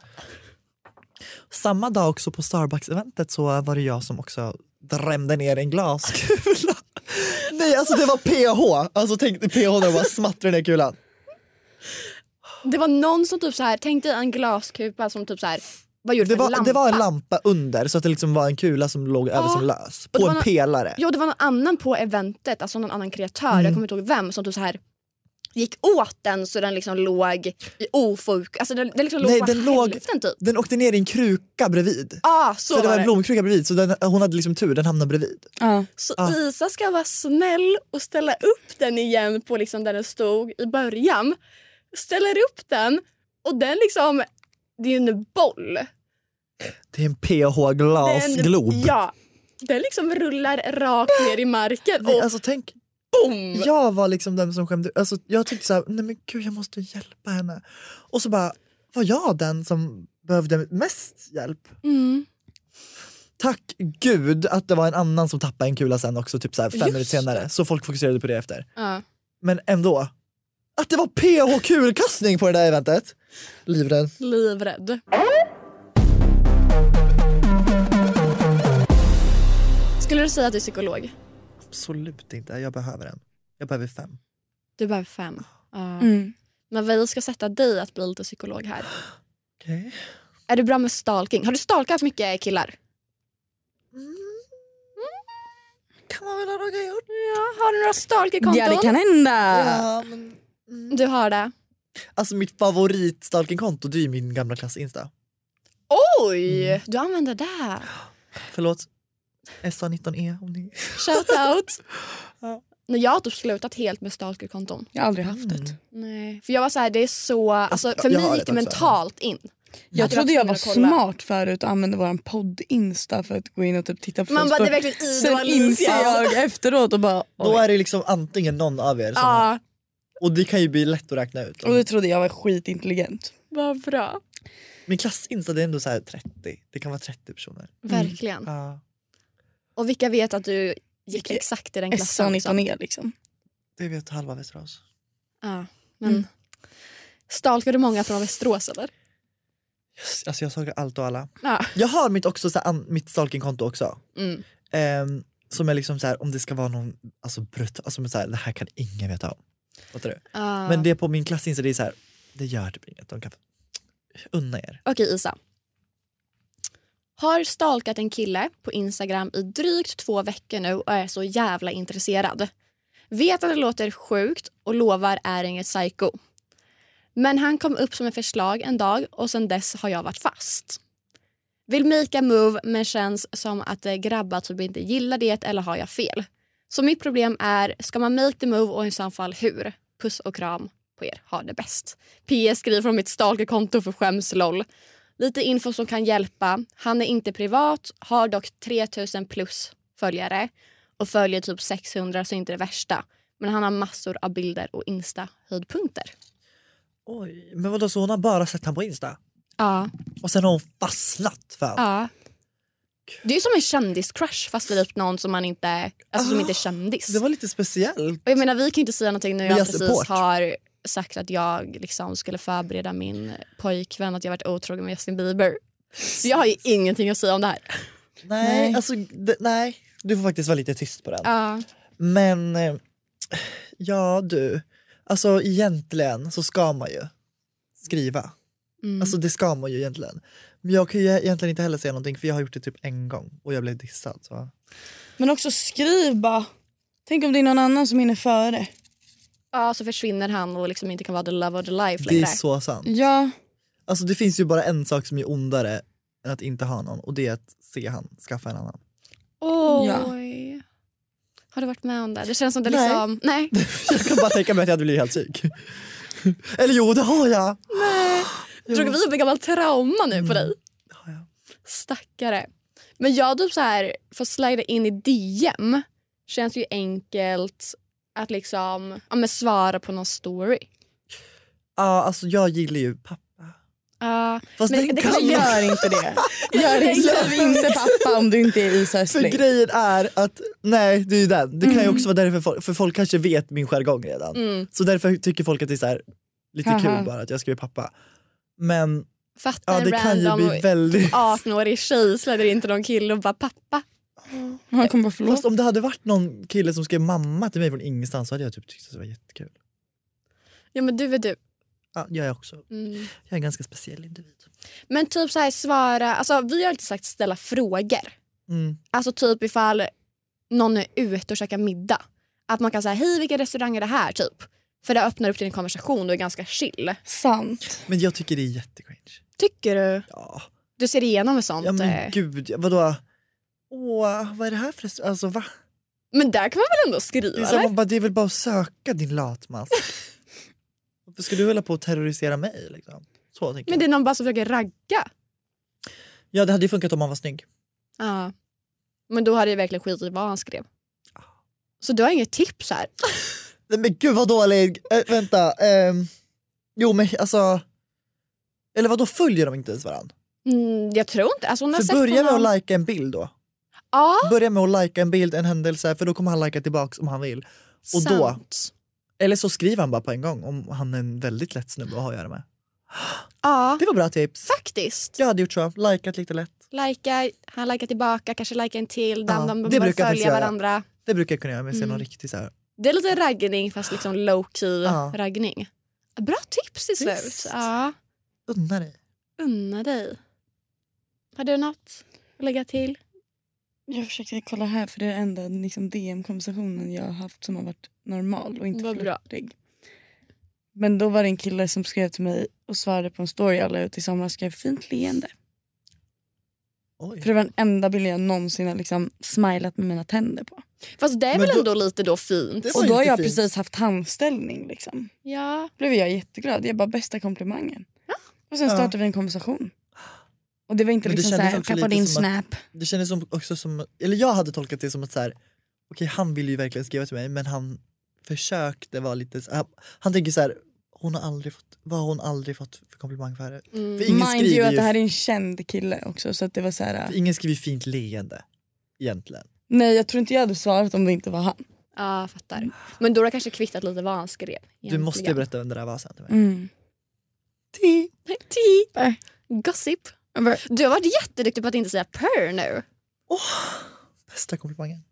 Speaker 2: Samma dag också på Starbucks-eventet så var det jag som också drämde ner en glaskula. Nej, alltså det var PH. Alltså tänk dig PH när det bara smattrade ner kulan.
Speaker 3: Det var någon som typ så här, tänkte en glaskupa som typ så här, vad gjorde
Speaker 2: Det
Speaker 3: för
Speaker 2: var,
Speaker 3: lampa?
Speaker 2: det var en lampa under så att det liksom var en kula som låg över
Speaker 3: Ja.
Speaker 2: som lös.
Speaker 3: det
Speaker 2: På
Speaker 3: var
Speaker 2: en
Speaker 3: nå-
Speaker 2: pelare.
Speaker 3: Jo, det var någon annan på eventet, alltså någon annan kreatör,
Speaker 2: Mm.
Speaker 3: jag kommer inte ihåg vem, som typ så här gick åt den så den liksom låg i ofok, alltså den, den liksom låg
Speaker 2: Nej,
Speaker 3: bara
Speaker 2: den låg-
Speaker 3: hälften typ.
Speaker 2: Den åkte ner i en kruka bredvid.
Speaker 3: Ja, ah, så
Speaker 2: för det var
Speaker 3: var
Speaker 2: en
Speaker 3: det.
Speaker 2: blomkruka bredvid så den, hon hade liksom tur, den hamnade bredvid.
Speaker 4: Ja.
Speaker 3: Så
Speaker 2: Ah.
Speaker 3: Isa ska vara snäll och ställa upp den igen på liksom där den stod i början. Ställer upp den och den liksom, det är ju en boll.
Speaker 2: Det är en PH-glasglob.
Speaker 3: Ja, den liksom rullar rakt ner i marken
Speaker 2: Nej,
Speaker 3: och
Speaker 2: alltså tänk,
Speaker 3: boom!
Speaker 2: jag var liksom den som skämde alltså, Jag tyckte så här, nej men gud jag måste hjälpa henne. Och så bara, var jag den som behövde mest hjälp?
Speaker 3: Mm.
Speaker 2: Tack gud att det var en annan som tappade en kula sen också, typ så här fem
Speaker 3: Just
Speaker 2: minuter senare. Så folk fokuserade på det efter.
Speaker 3: Ja.
Speaker 2: Men ändå, att det var PH-kulkastning på det där eventet. Livrädd.
Speaker 3: Livrädd. Skulle du säga att du är psykolog?
Speaker 2: Absolut inte, jag behöver en. Jag behöver fem.
Speaker 3: Du behöver fem. Ja.
Speaker 4: Mm.
Speaker 3: Men vi ska sätta dig att bli lite psykolog här.
Speaker 2: Okej.
Speaker 3: Är du bra med stalking? Har du stalkat mycket killar?
Speaker 2: Mm. Kan man väl ha råkat gjort?
Speaker 3: Ja, har du några stalkerkonton?
Speaker 4: Ja det kan hända.
Speaker 2: Ja, men...
Speaker 3: Du har det.
Speaker 2: Äh. Alltså mitt favoritstalkingkonto det är ju min gamla klass Insta.
Speaker 3: Oj, du använder det.
Speaker 2: Förlåt. SA19E E, om ni...
Speaker 3: Shout out. Nej, Jag har typ slutat helt med stalkerkonton.
Speaker 4: Jag har aldrig haft det.
Speaker 3: Nej. För jag var så här, det är så, alltså,
Speaker 2: jag-
Speaker 3: för
Speaker 2: jag har
Speaker 3: mig gick
Speaker 2: det
Speaker 3: det
Speaker 2: också.
Speaker 3: mentalt in.
Speaker 4: Jag trodde jag var
Speaker 3: tvungen att kolla.
Speaker 4: smart förut och använde våran podd-insta för att gå in och typ titta på
Speaker 3: Man
Speaker 4: folks
Speaker 3: bara, det är
Speaker 4: story.
Speaker 3: verkligen
Speaker 4: Sen
Speaker 3: Ida och
Speaker 4: inser
Speaker 3: Alicia.
Speaker 4: jag efteråt och bara
Speaker 2: Då
Speaker 4: oj.
Speaker 2: är det liksom antingen någon av er som...
Speaker 3: Ja,
Speaker 2: Och det kan ju bli lätt att räkna ut.
Speaker 4: Och då trodde jag var skitintelligent.
Speaker 3: vad bra.
Speaker 2: Min klass Insta det är ändå så här 30. Det kan vara 30 personer.
Speaker 3: Verkligen.
Speaker 2: Ja.
Speaker 3: Och vilka vet att du gick
Speaker 4: Gick
Speaker 3: exakt i den klassen? också?
Speaker 4: SA19E liksom.
Speaker 2: Det vet halva Västerås.
Speaker 3: Ja, men Stalkar du många från Västerås eller?
Speaker 2: Yes, Alltså jag saknar allt och alla.
Speaker 3: Ja.
Speaker 2: Jag har mitt, också så här, an- mitt stalkingkonto också.
Speaker 3: Mm.
Speaker 2: Ehm, som är liksom så här, om det ska vara någon alltså, brut, alltså, men så här, det här kan ingen veta om. Fattar du?
Speaker 3: Ja.
Speaker 2: Men det är på min klass Insta det är så här, det gör typ inget. De kan unna er.
Speaker 3: Okej Isa. Har stalkat en kille på Instagram i drygt två veckor nu och är så jävla intresserad. Vet att det låter sjukt och lovar är inget psycho. Men han kom upp som ett förslag en dag och sen dess har jag varit fast. Vill make a move men känns som att eh, grabbar typ inte gillar det eller har jag fel? Så mitt problem är, ska man make the move och i så fall hur? Puss och kram på er, ha det bäst. PS skriver från mitt stalkerkonto för skäms LOL. Lite info som kan hjälpa. Han är inte privat, har dock 3000 plus följare och följer typ 600 så inte det värsta. Men han har massor av bilder och Insta-höjdpunkter.
Speaker 2: Oj, men vadå så hon har bara sett han på Insta?
Speaker 3: Ja.
Speaker 2: Och sen har hon fastnat för honom?
Speaker 3: ja. Det är ju som en kändiscrush fast det är typ någon som man inte, alltså som inte är kändis.
Speaker 2: Ah, Det var lite speciellt.
Speaker 3: Och jag menar, vi kan inte säga någonting när jag,
Speaker 2: jag
Speaker 3: precis
Speaker 2: support.
Speaker 3: har sagt att jag liksom skulle förbereda min pojkvän att jag varit otrogen med Justin Bieber. Så jag har ju ingenting att säga om det här.
Speaker 2: Nej, Alltså, det, nej. Du får faktiskt vara lite tyst på den.
Speaker 3: Ja.
Speaker 2: Men eh, ja du, alltså egentligen så ska man ju skriva.
Speaker 3: Mm.
Speaker 2: Alltså det ska man ju egentligen. Men jag kan ju egentligen inte heller säga någonting för jag har gjort det typ en gång och jag blev dissad. Så.
Speaker 4: Men också skriv bara. Tänk om det är någon annan som hinner före.
Speaker 3: ja, så försvinner han och liksom inte kan vara the love of the life
Speaker 2: Det är
Speaker 3: längre.
Speaker 2: så sant.
Speaker 4: Ja.
Speaker 2: Alltså det finns ju bara en sak som är ondare än att inte ha någon och det är att se han skaffa en annan.
Speaker 3: Oj.
Speaker 4: Ja.
Speaker 3: Har du varit med om det? Det känns som det
Speaker 2: Nej.
Speaker 3: liksom... Nej.
Speaker 2: Jag kan bara tänka mig att jag hade blivit helt psyk. Eller jo, det har jag.
Speaker 3: Drog vi upp en gammal trauma nu på dig?
Speaker 2: Mm. har jag.
Speaker 3: Stackare. Men jag typ så här, för att slida in i DM känns ju enkelt att liksom ja, men svara på någon story.
Speaker 2: Ja, alltså jag gillar ju pappa.
Speaker 3: Ja, Ja.
Speaker 2: Fast
Speaker 3: Men
Speaker 2: den
Speaker 3: det
Speaker 2: kan
Speaker 3: kan
Speaker 4: Men
Speaker 2: man-
Speaker 4: Alltså, gör inte det. Gör, gör inte pappa om du inte är Isa
Speaker 2: För
Speaker 4: Östling.
Speaker 2: grejen är att, nej det är ju den. Det kan
Speaker 3: Mm.
Speaker 2: ju också vara därför folk, för folk kanske vet min jargong redan. Så därför tycker folk att det är så här, lite
Speaker 4: Haha.
Speaker 2: kul bara att jag ska bli pappa. Men ja,
Speaker 3: Fattar
Speaker 2: det kan ju
Speaker 3: random
Speaker 2: bli väldigt...
Speaker 3: 18-årig tjej släder in till någon kille och bara pappa.
Speaker 4: Han kommer bara förlåt.
Speaker 2: Fast om det hade varit någon kille som skrev mamma till mig från ingenstans så hade jag typ tyckt att det var jättekul.
Speaker 3: Ja men du är du.
Speaker 2: Ja, jag är också.
Speaker 3: Mm.
Speaker 2: Jag är en ganska speciell individ.
Speaker 3: Men typ så här svara, alltså vi har alltid sagt ställa frågor.
Speaker 2: Mm.
Speaker 3: Alltså typ ifall någon är ute och käkar middag. Att man kan säga hej vilken restaurang är det här typ. För det öppnar upp till en konversation och är ganska chill.
Speaker 4: Sant.
Speaker 2: Men jag tycker det är jättecringe.
Speaker 3: Tycker du?
Speaker 2: Ja.
Speaker 3: Du ser igenom med sånt.
Speaker 2: ja
Speaker 3: eh.
Speaker 2: men gud, ja, vadå? Åh, vad är det här för restaurang? Alltså va?
Speaker 3: men där kan man väl ändå
Speaker 2: Det
Speaker 3: skriva?
Speaker 2: är, så här,
Speaker 3: eller?
Speaker 2: man bara, det är väl bara att söka din latmask. Varför ska du hålla på och terrorisera mig? Liksom? Så tänker
Speaker 3: Men det
Speaker 2: jag.
Speaker 3: är någon bara som försöker ragga.
Speaker 2: Ja det hade ju funkat om man var snygg.
Speaker 3: Ja. Men då hade jag verkligen skit i vad han skrev. Så du har inget tips här?
Speaker 2: Nej, men gud vad dålig! Eh, vänta. ehm, jo men alltså. Eller vad då följer de inte ens varandra?
Speaker 3: Mm, jag tror inte. Alltså hon har
Speaker 2: För
Speaker 3: sett Ah.
Speaker 2: börja med
Speaker 3: honom-
Speaker 2: att lika en bild då.
Speaker 3: Ja,
Speaker 2: Börja med att lika en bild, en händelse, för då kommer han lika tillbaks om han vill. Och då,
Speaker 3: sant.
Speaker 2: eller så skriver han bara på en gång om han är en väldigt lätt snubbe att ha att göra med.
Speaker 3: Ja,
Speaker 2: Det var bra tips.
Speaker 3: faktiskt.
Speaker 2: Jag hade gjort så, likat lite lätt.
Speaker 3: Lika, han likar tillbaka, kanske likar en till.
Speaker 2: Ja,
Speaker 3: Ja, de
Speaker 2: det
Speaker 3: behöver
Speaker 2: brukar jag
Speaker 3: följa
Speaker 2: faktiskt göra.
Speaker 3: varandra.
Speaker 2: Det brukar jag kunna göra om jag ser
Speaker 3: Mm.
Speaker 2: någon riktig så här.
Speaker 3: Det är lite raggning fast liksom low key
Speaker 2: Ja.
Speaker 3: raggning. Bra tips till
Speaker 2: Visst.
Speaker 3: slut. Ja,
Speaker 2: unna dig.
Speaker 3: unna dig. Har du något att lägga till?
Speaker 4: Jag försökte kolla här för det är den enda liksom, DM-konversationen jag har haft som har varit normal och inte
Speaker 3: Vad bra.
Speaker 4: flörtig. Men då var det en kille som skrev till mig och svarade på en story jag la ut i somras skrev fint leende.
Speaker 2: Oj.
Speaker 4: För det var den enda bilden jag någonsin har liksom smilat med mina tänder på.
Speaker 3: Fast det är
Speaker 2: Men
Speaker 3: väl
Speaker 2: då-
Speaker 3: ändå lite då fint?
Speaker 2: Det var
Speaker 4: Och då har
Speaker 2: inte
Speaker 4: jag
Speaker 2: fint.
Speaker 4: precis haft handställning liksom.
Speaker 3: Ja.
Speaker 4: blev jag jätteglad. Jag bara bästa komplimangen. Och sen
Speaker 2: Ja.
Speaker 4: startade vi en konversation. Och det var inte
Speaker 2: Men det
Speaker 4: liksom
Speaker 2: kändes
Speaker 4: såhär,
Speaker 2: också
Speaker 4: kan jag få
Speaker 2: lite
Speaker 4: din
Speaker 2: som att-
Speaker 4: snap?
Speaker 2: Det kändes som, också som, eller jag hade tolkat det som att så här, okej han ville ju verkligen skriva till mig men han försökte vara lite så han, han tänker så här, hon har aldrig fått, vad har hon aldrig fått för komplimang för det? För ingen
Speaker 4: Mind you
Speaker 2: skriver
Speaker 4: att
Speaker 2: ju,
Speaker 4: det här är en känd kille också så att det var så här.
Speaker 2: för ingen skriver fint leende egentligen.
Speaker 4: nej jag tror inte jag hade svarat om det inte var han.
Speaker 3: Ja, fattar. Men då har det kanske kvittat lite vad han skrev.
Speaker 2: Du måste
Speaker 3: egentligen.
Speaker 2: berätta vem det där var sen till mig.
Speaker 4: Mm.
Speaker 3: Ti. Gossip.
Speaker 4: Jag bara,
Speaker 3: Du har varit jätteduktig på att inte säga purr nu.
Speaker 2: Bästa komplimangen.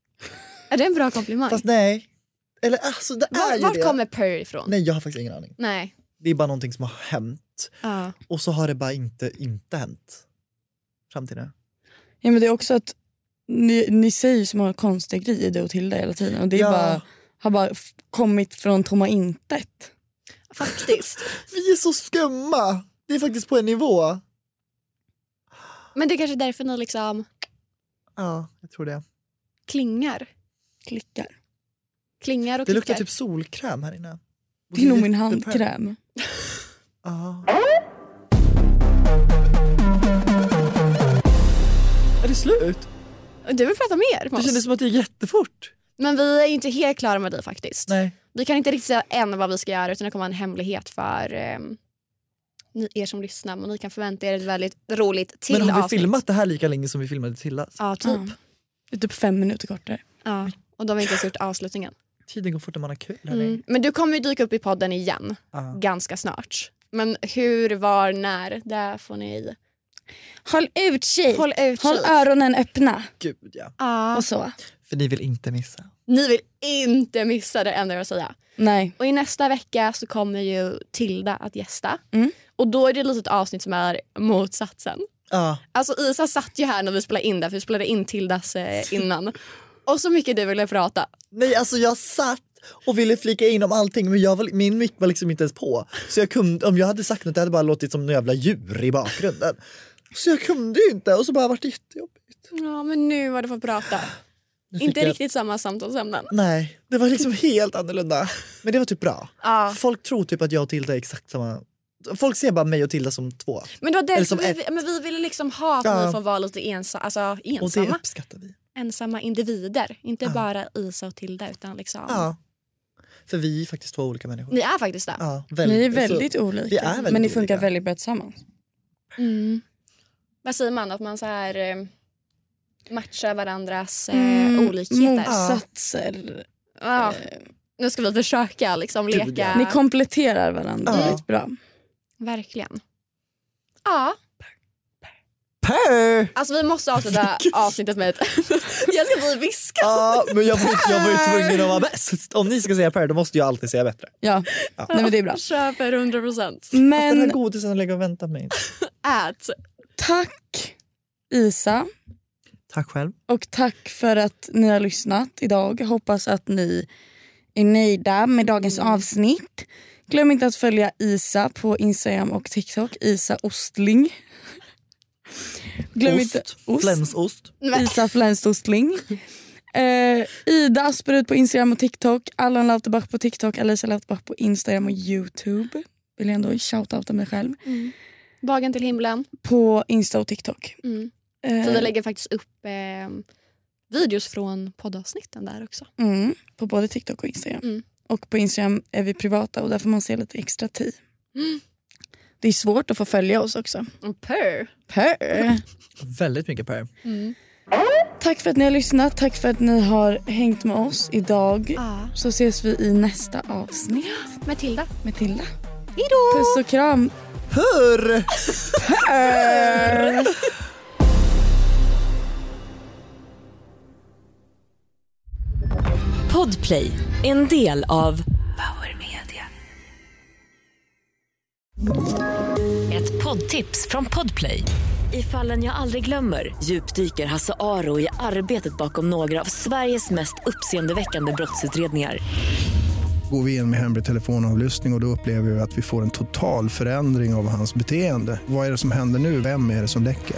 Speaker 3: Är det en bra komplimang?
Speaker 2: Fast nej, eller alltså det är
Speaker 3: Var,
Speaker 2: ju
Speaker 3: vart
Speaker 2: det.
Speaker 3: kommer purr ifrån?
Speaker 2: Nej jag har faktiskt ingen aning.
Speaker 3: Nej.
Speaker 2: Det är bara någonting som har hänt
Speaker 3: Ja.
Speaker 2: och så har det bara inte, inte hänt. Fram till nu.
Speaker 4: ja, men det är också att ni, ni säger ju så många konstiga grejer du och Tilda hela tiden och det är
Speaker 2: Ja.
Speaker 4: bara, har bara f- kommit från tomma intet.
Speaker 3: Faktiskt.
Speaker 2: Vi är så skumma! Det är faktiskt på en nivå.
Speaker 3: Men det är kanske är därför ni liksom
Speaker 2: Ja, jag tror det.
Speaker 3: klingar.
Speaker 4: Klickar.
Speaker 3: Klingar och
Speaker 2: Det luktar
Speaker 3: klickar.
Speaker 2: typ solkräm här inne.
Speaker 4: Det är nog min
Speaker 2: Jättepär-
Speaker 4: handkräm.
Speaker 2: Ja. Är det slut? typ-
Speaker 3: Du vill prata mer med
Speaker 2: Det kändes
Speaker 3: oss.
Speaker 2: som att det är jättefort.
Speaker 3: Men vi är inte helt klara med dig faktiskt.
Speaker 2: Nej.
Speaker 3: Vi kan inte riktigt säga än vad vi ska göra utan det kommer vara en hemlighet för ehm, ni, er som lyssnar. Men ni kan förvänta er ett väldigt roligt till
Speaker 2: Men har vi
Speaker 3: avsnitt.
Speaker 2: filmat det här lika länge som vi filmade Tillas?
Speaker 3: Ja, typ.
Speaker 4: Ja. Det är typ fem minuter kortare.
Speaker 3: Ja. Och de har inte ens gjort avslutningen.
Speaker 2: Tiden går fort när man har kul. hörni.
Speaker 3: Mm. Men du kommer ju dyka upp i podden igen
Speaker 2: Ja.
Speaker 3: ganska snart. Men hur, var, när, där får ni...
Speaker 4: Håll utkik!
Speaker 3: Håll utkik.
Speaker 4: Håll öronen öppna
Speaker 2: Gud ja.
Speaker 3: Ja.
Speaker 4: och så.
Speaker 2: För ni vill inte missa.
Speaker 3: Ni vill inte missa det enda jag har att säga.
Speaker 4: Nej.
Speaker 3: Och i nästa vecka så kommer ju Tilda att gästa.
Speaker 4: Mm.
Speaker 3: Och då är det ett litet avsnitt som är motsatsen.
Speaker 2: Ja.
Speaker 3: Alltså Isa satt ju här när vi spelade in det, för vi spelade in Tildas eh, innan. Och så mycket du ville prata.
Speaker 2: Nej alltså jag satt och ville flika in om allting men jag var, min mick var liksom inte ens på. Så jag kunde, om jag hade sagt något det hade bara låtit som en jävla djur i bakgrunden. Så jag kunde ju inte och så bara vart det jättejobbigt.
Speaker 3: Ja men nu har du fått prata.
Speaker 2: Nu fick
Speaker 3: Inte
Speaker 2: jag-
Speaker 3: riktigt samma samtalsämnen.
Speaker 2: Nej, det var liksom helt annorlunda. Men det var typ bra.
Speaker 3: Ja.
Speaker 2: Folk tror typ att jag och Tilda är exakt samma. Folk ser bara mig och Tilda som två.
Speaker 3: Men det var
Speaker 2: Eller
Speaker 3: därför
Speaker 2: som
Speaker 3: vi,
Speaker 2: ett.
Speaker 3: men vi ville liksom ha att
Speaker 2: Ja.
Speaker 3: ni får vara lite ensa, alltså,
Speaker 2: Och det
Speaker 3: ensamma.
Speaker 2: uppskattar vi.
Speaker 3: ensamma individer. Inte bara Isa och Tilda utan liksom...
Speaker 2: Ja. För vi är faktiskt två olika människor.
Speaker 3: Ni är faktiskt det.
Speaker 2: Ja,
Speaker 4: Ni är
Speaker 2: väldigt- Alltså, så-
Speaker 4: väldigt olika,
Speaker 2: vi är väldigt
Speaker 4: men ni funkar
Speaker 2: olika.
Speaker 4: väldigt bra tillsammans.
Speaker 3: Mm. Vad säger man? Att man så här eh, matchar varandras eh,
Speaker 4: Mm,
Speaker 3: olikheter.
Speaker 4: Motsatser.
Speaker 3: Ja. Nu ska vi försöka liksom leka.
Speaker 4: Ni kompletterar varandra
Speaker 2: Ja.
Speaker 4: väldigt bra.
Speaker 3: Verkligen. Ja,
Speaker 2: Per!
Speaker 3: alltså vi måste avsluta avsnittet med ett... jag ska bli viska.
Speaker 2: Ja, men jag var, jag var ju tvungen att vara bäst. Om ni ska säga per, då måste jag alltid säga bättre.
Speaker 4: Ja. Nej, men det är bra.
Speaker 3: Köper 100 procent.
Speaker 2: Den här
Speaker 4: Men
Speaker 2: godisen ligger och väntar på mig.
Speaker 3: Ät.
Speaker 4: tack Isa
Speaker 2: Tack själv.
Speaker 4: och tack för att ni har lyssnat idag. Jag Hoppas att ni är nöjda med dagens avsnitt. Glöm inte att följa Isa på Instagram och TikTok. Isa Ostling. Glöm inte... Ost.
Speaker 2: Flensost.
Speaker 4: Isa Flänstostling. Eh, Ida Asperud på Instagram och TikTok. Allan Lauterbach på TikTok. Alicia Lauterbach på Instagram och Youtube. Vill jag ändå shoutouta mig själv.
Speaker 3: Dagen till himlen.
Speaker 4: På Insta och TikTok.
Speaker 3: Mm.
Speaker 4: Eh,
Speaker 3: Så vi lägger faktiskt upp eh, videos från poddavsnitten där också.
Speaker 4: mm, på både TikTok och Instagram.
Speaker 3: Mm.
Speaker 4: Och på Instagram är vi privata och där får man se lite extra tid.
Speaker 3: Mm.
Speaker 4: Det är svårt att få följa oss också.
Speaker 3: Per.
Speaker 4: Per.
Speaker 2: Väldigt mycket per.
Speaker 4: Tack för att ni har lyssnat. Tack för att ni har hängt med oss idag.
Speaker 3: Ja.
Speaker 4: Så ses vi i nästa avsnitt.
Speaker 3: Matilda.
Speaker 4: med Tilda. Hejdå! Puss och kram.
Speaker 2: Hurr!
Speaker 1: Podplay, en del av Power Media. Ett poddtips från Podplay. I fallen jag aldrig glömmer djupdyker Hasse Aro i arbetet bakom några av Sveriges mest uppseendeväckande brottsutredningar.
Speaker 5: Går vi in med hemlig telefonavlyssning och, och då upplever vi att vi får en total förändring av hans beteende. Vad är det som händer nu? Vem är det som läcker?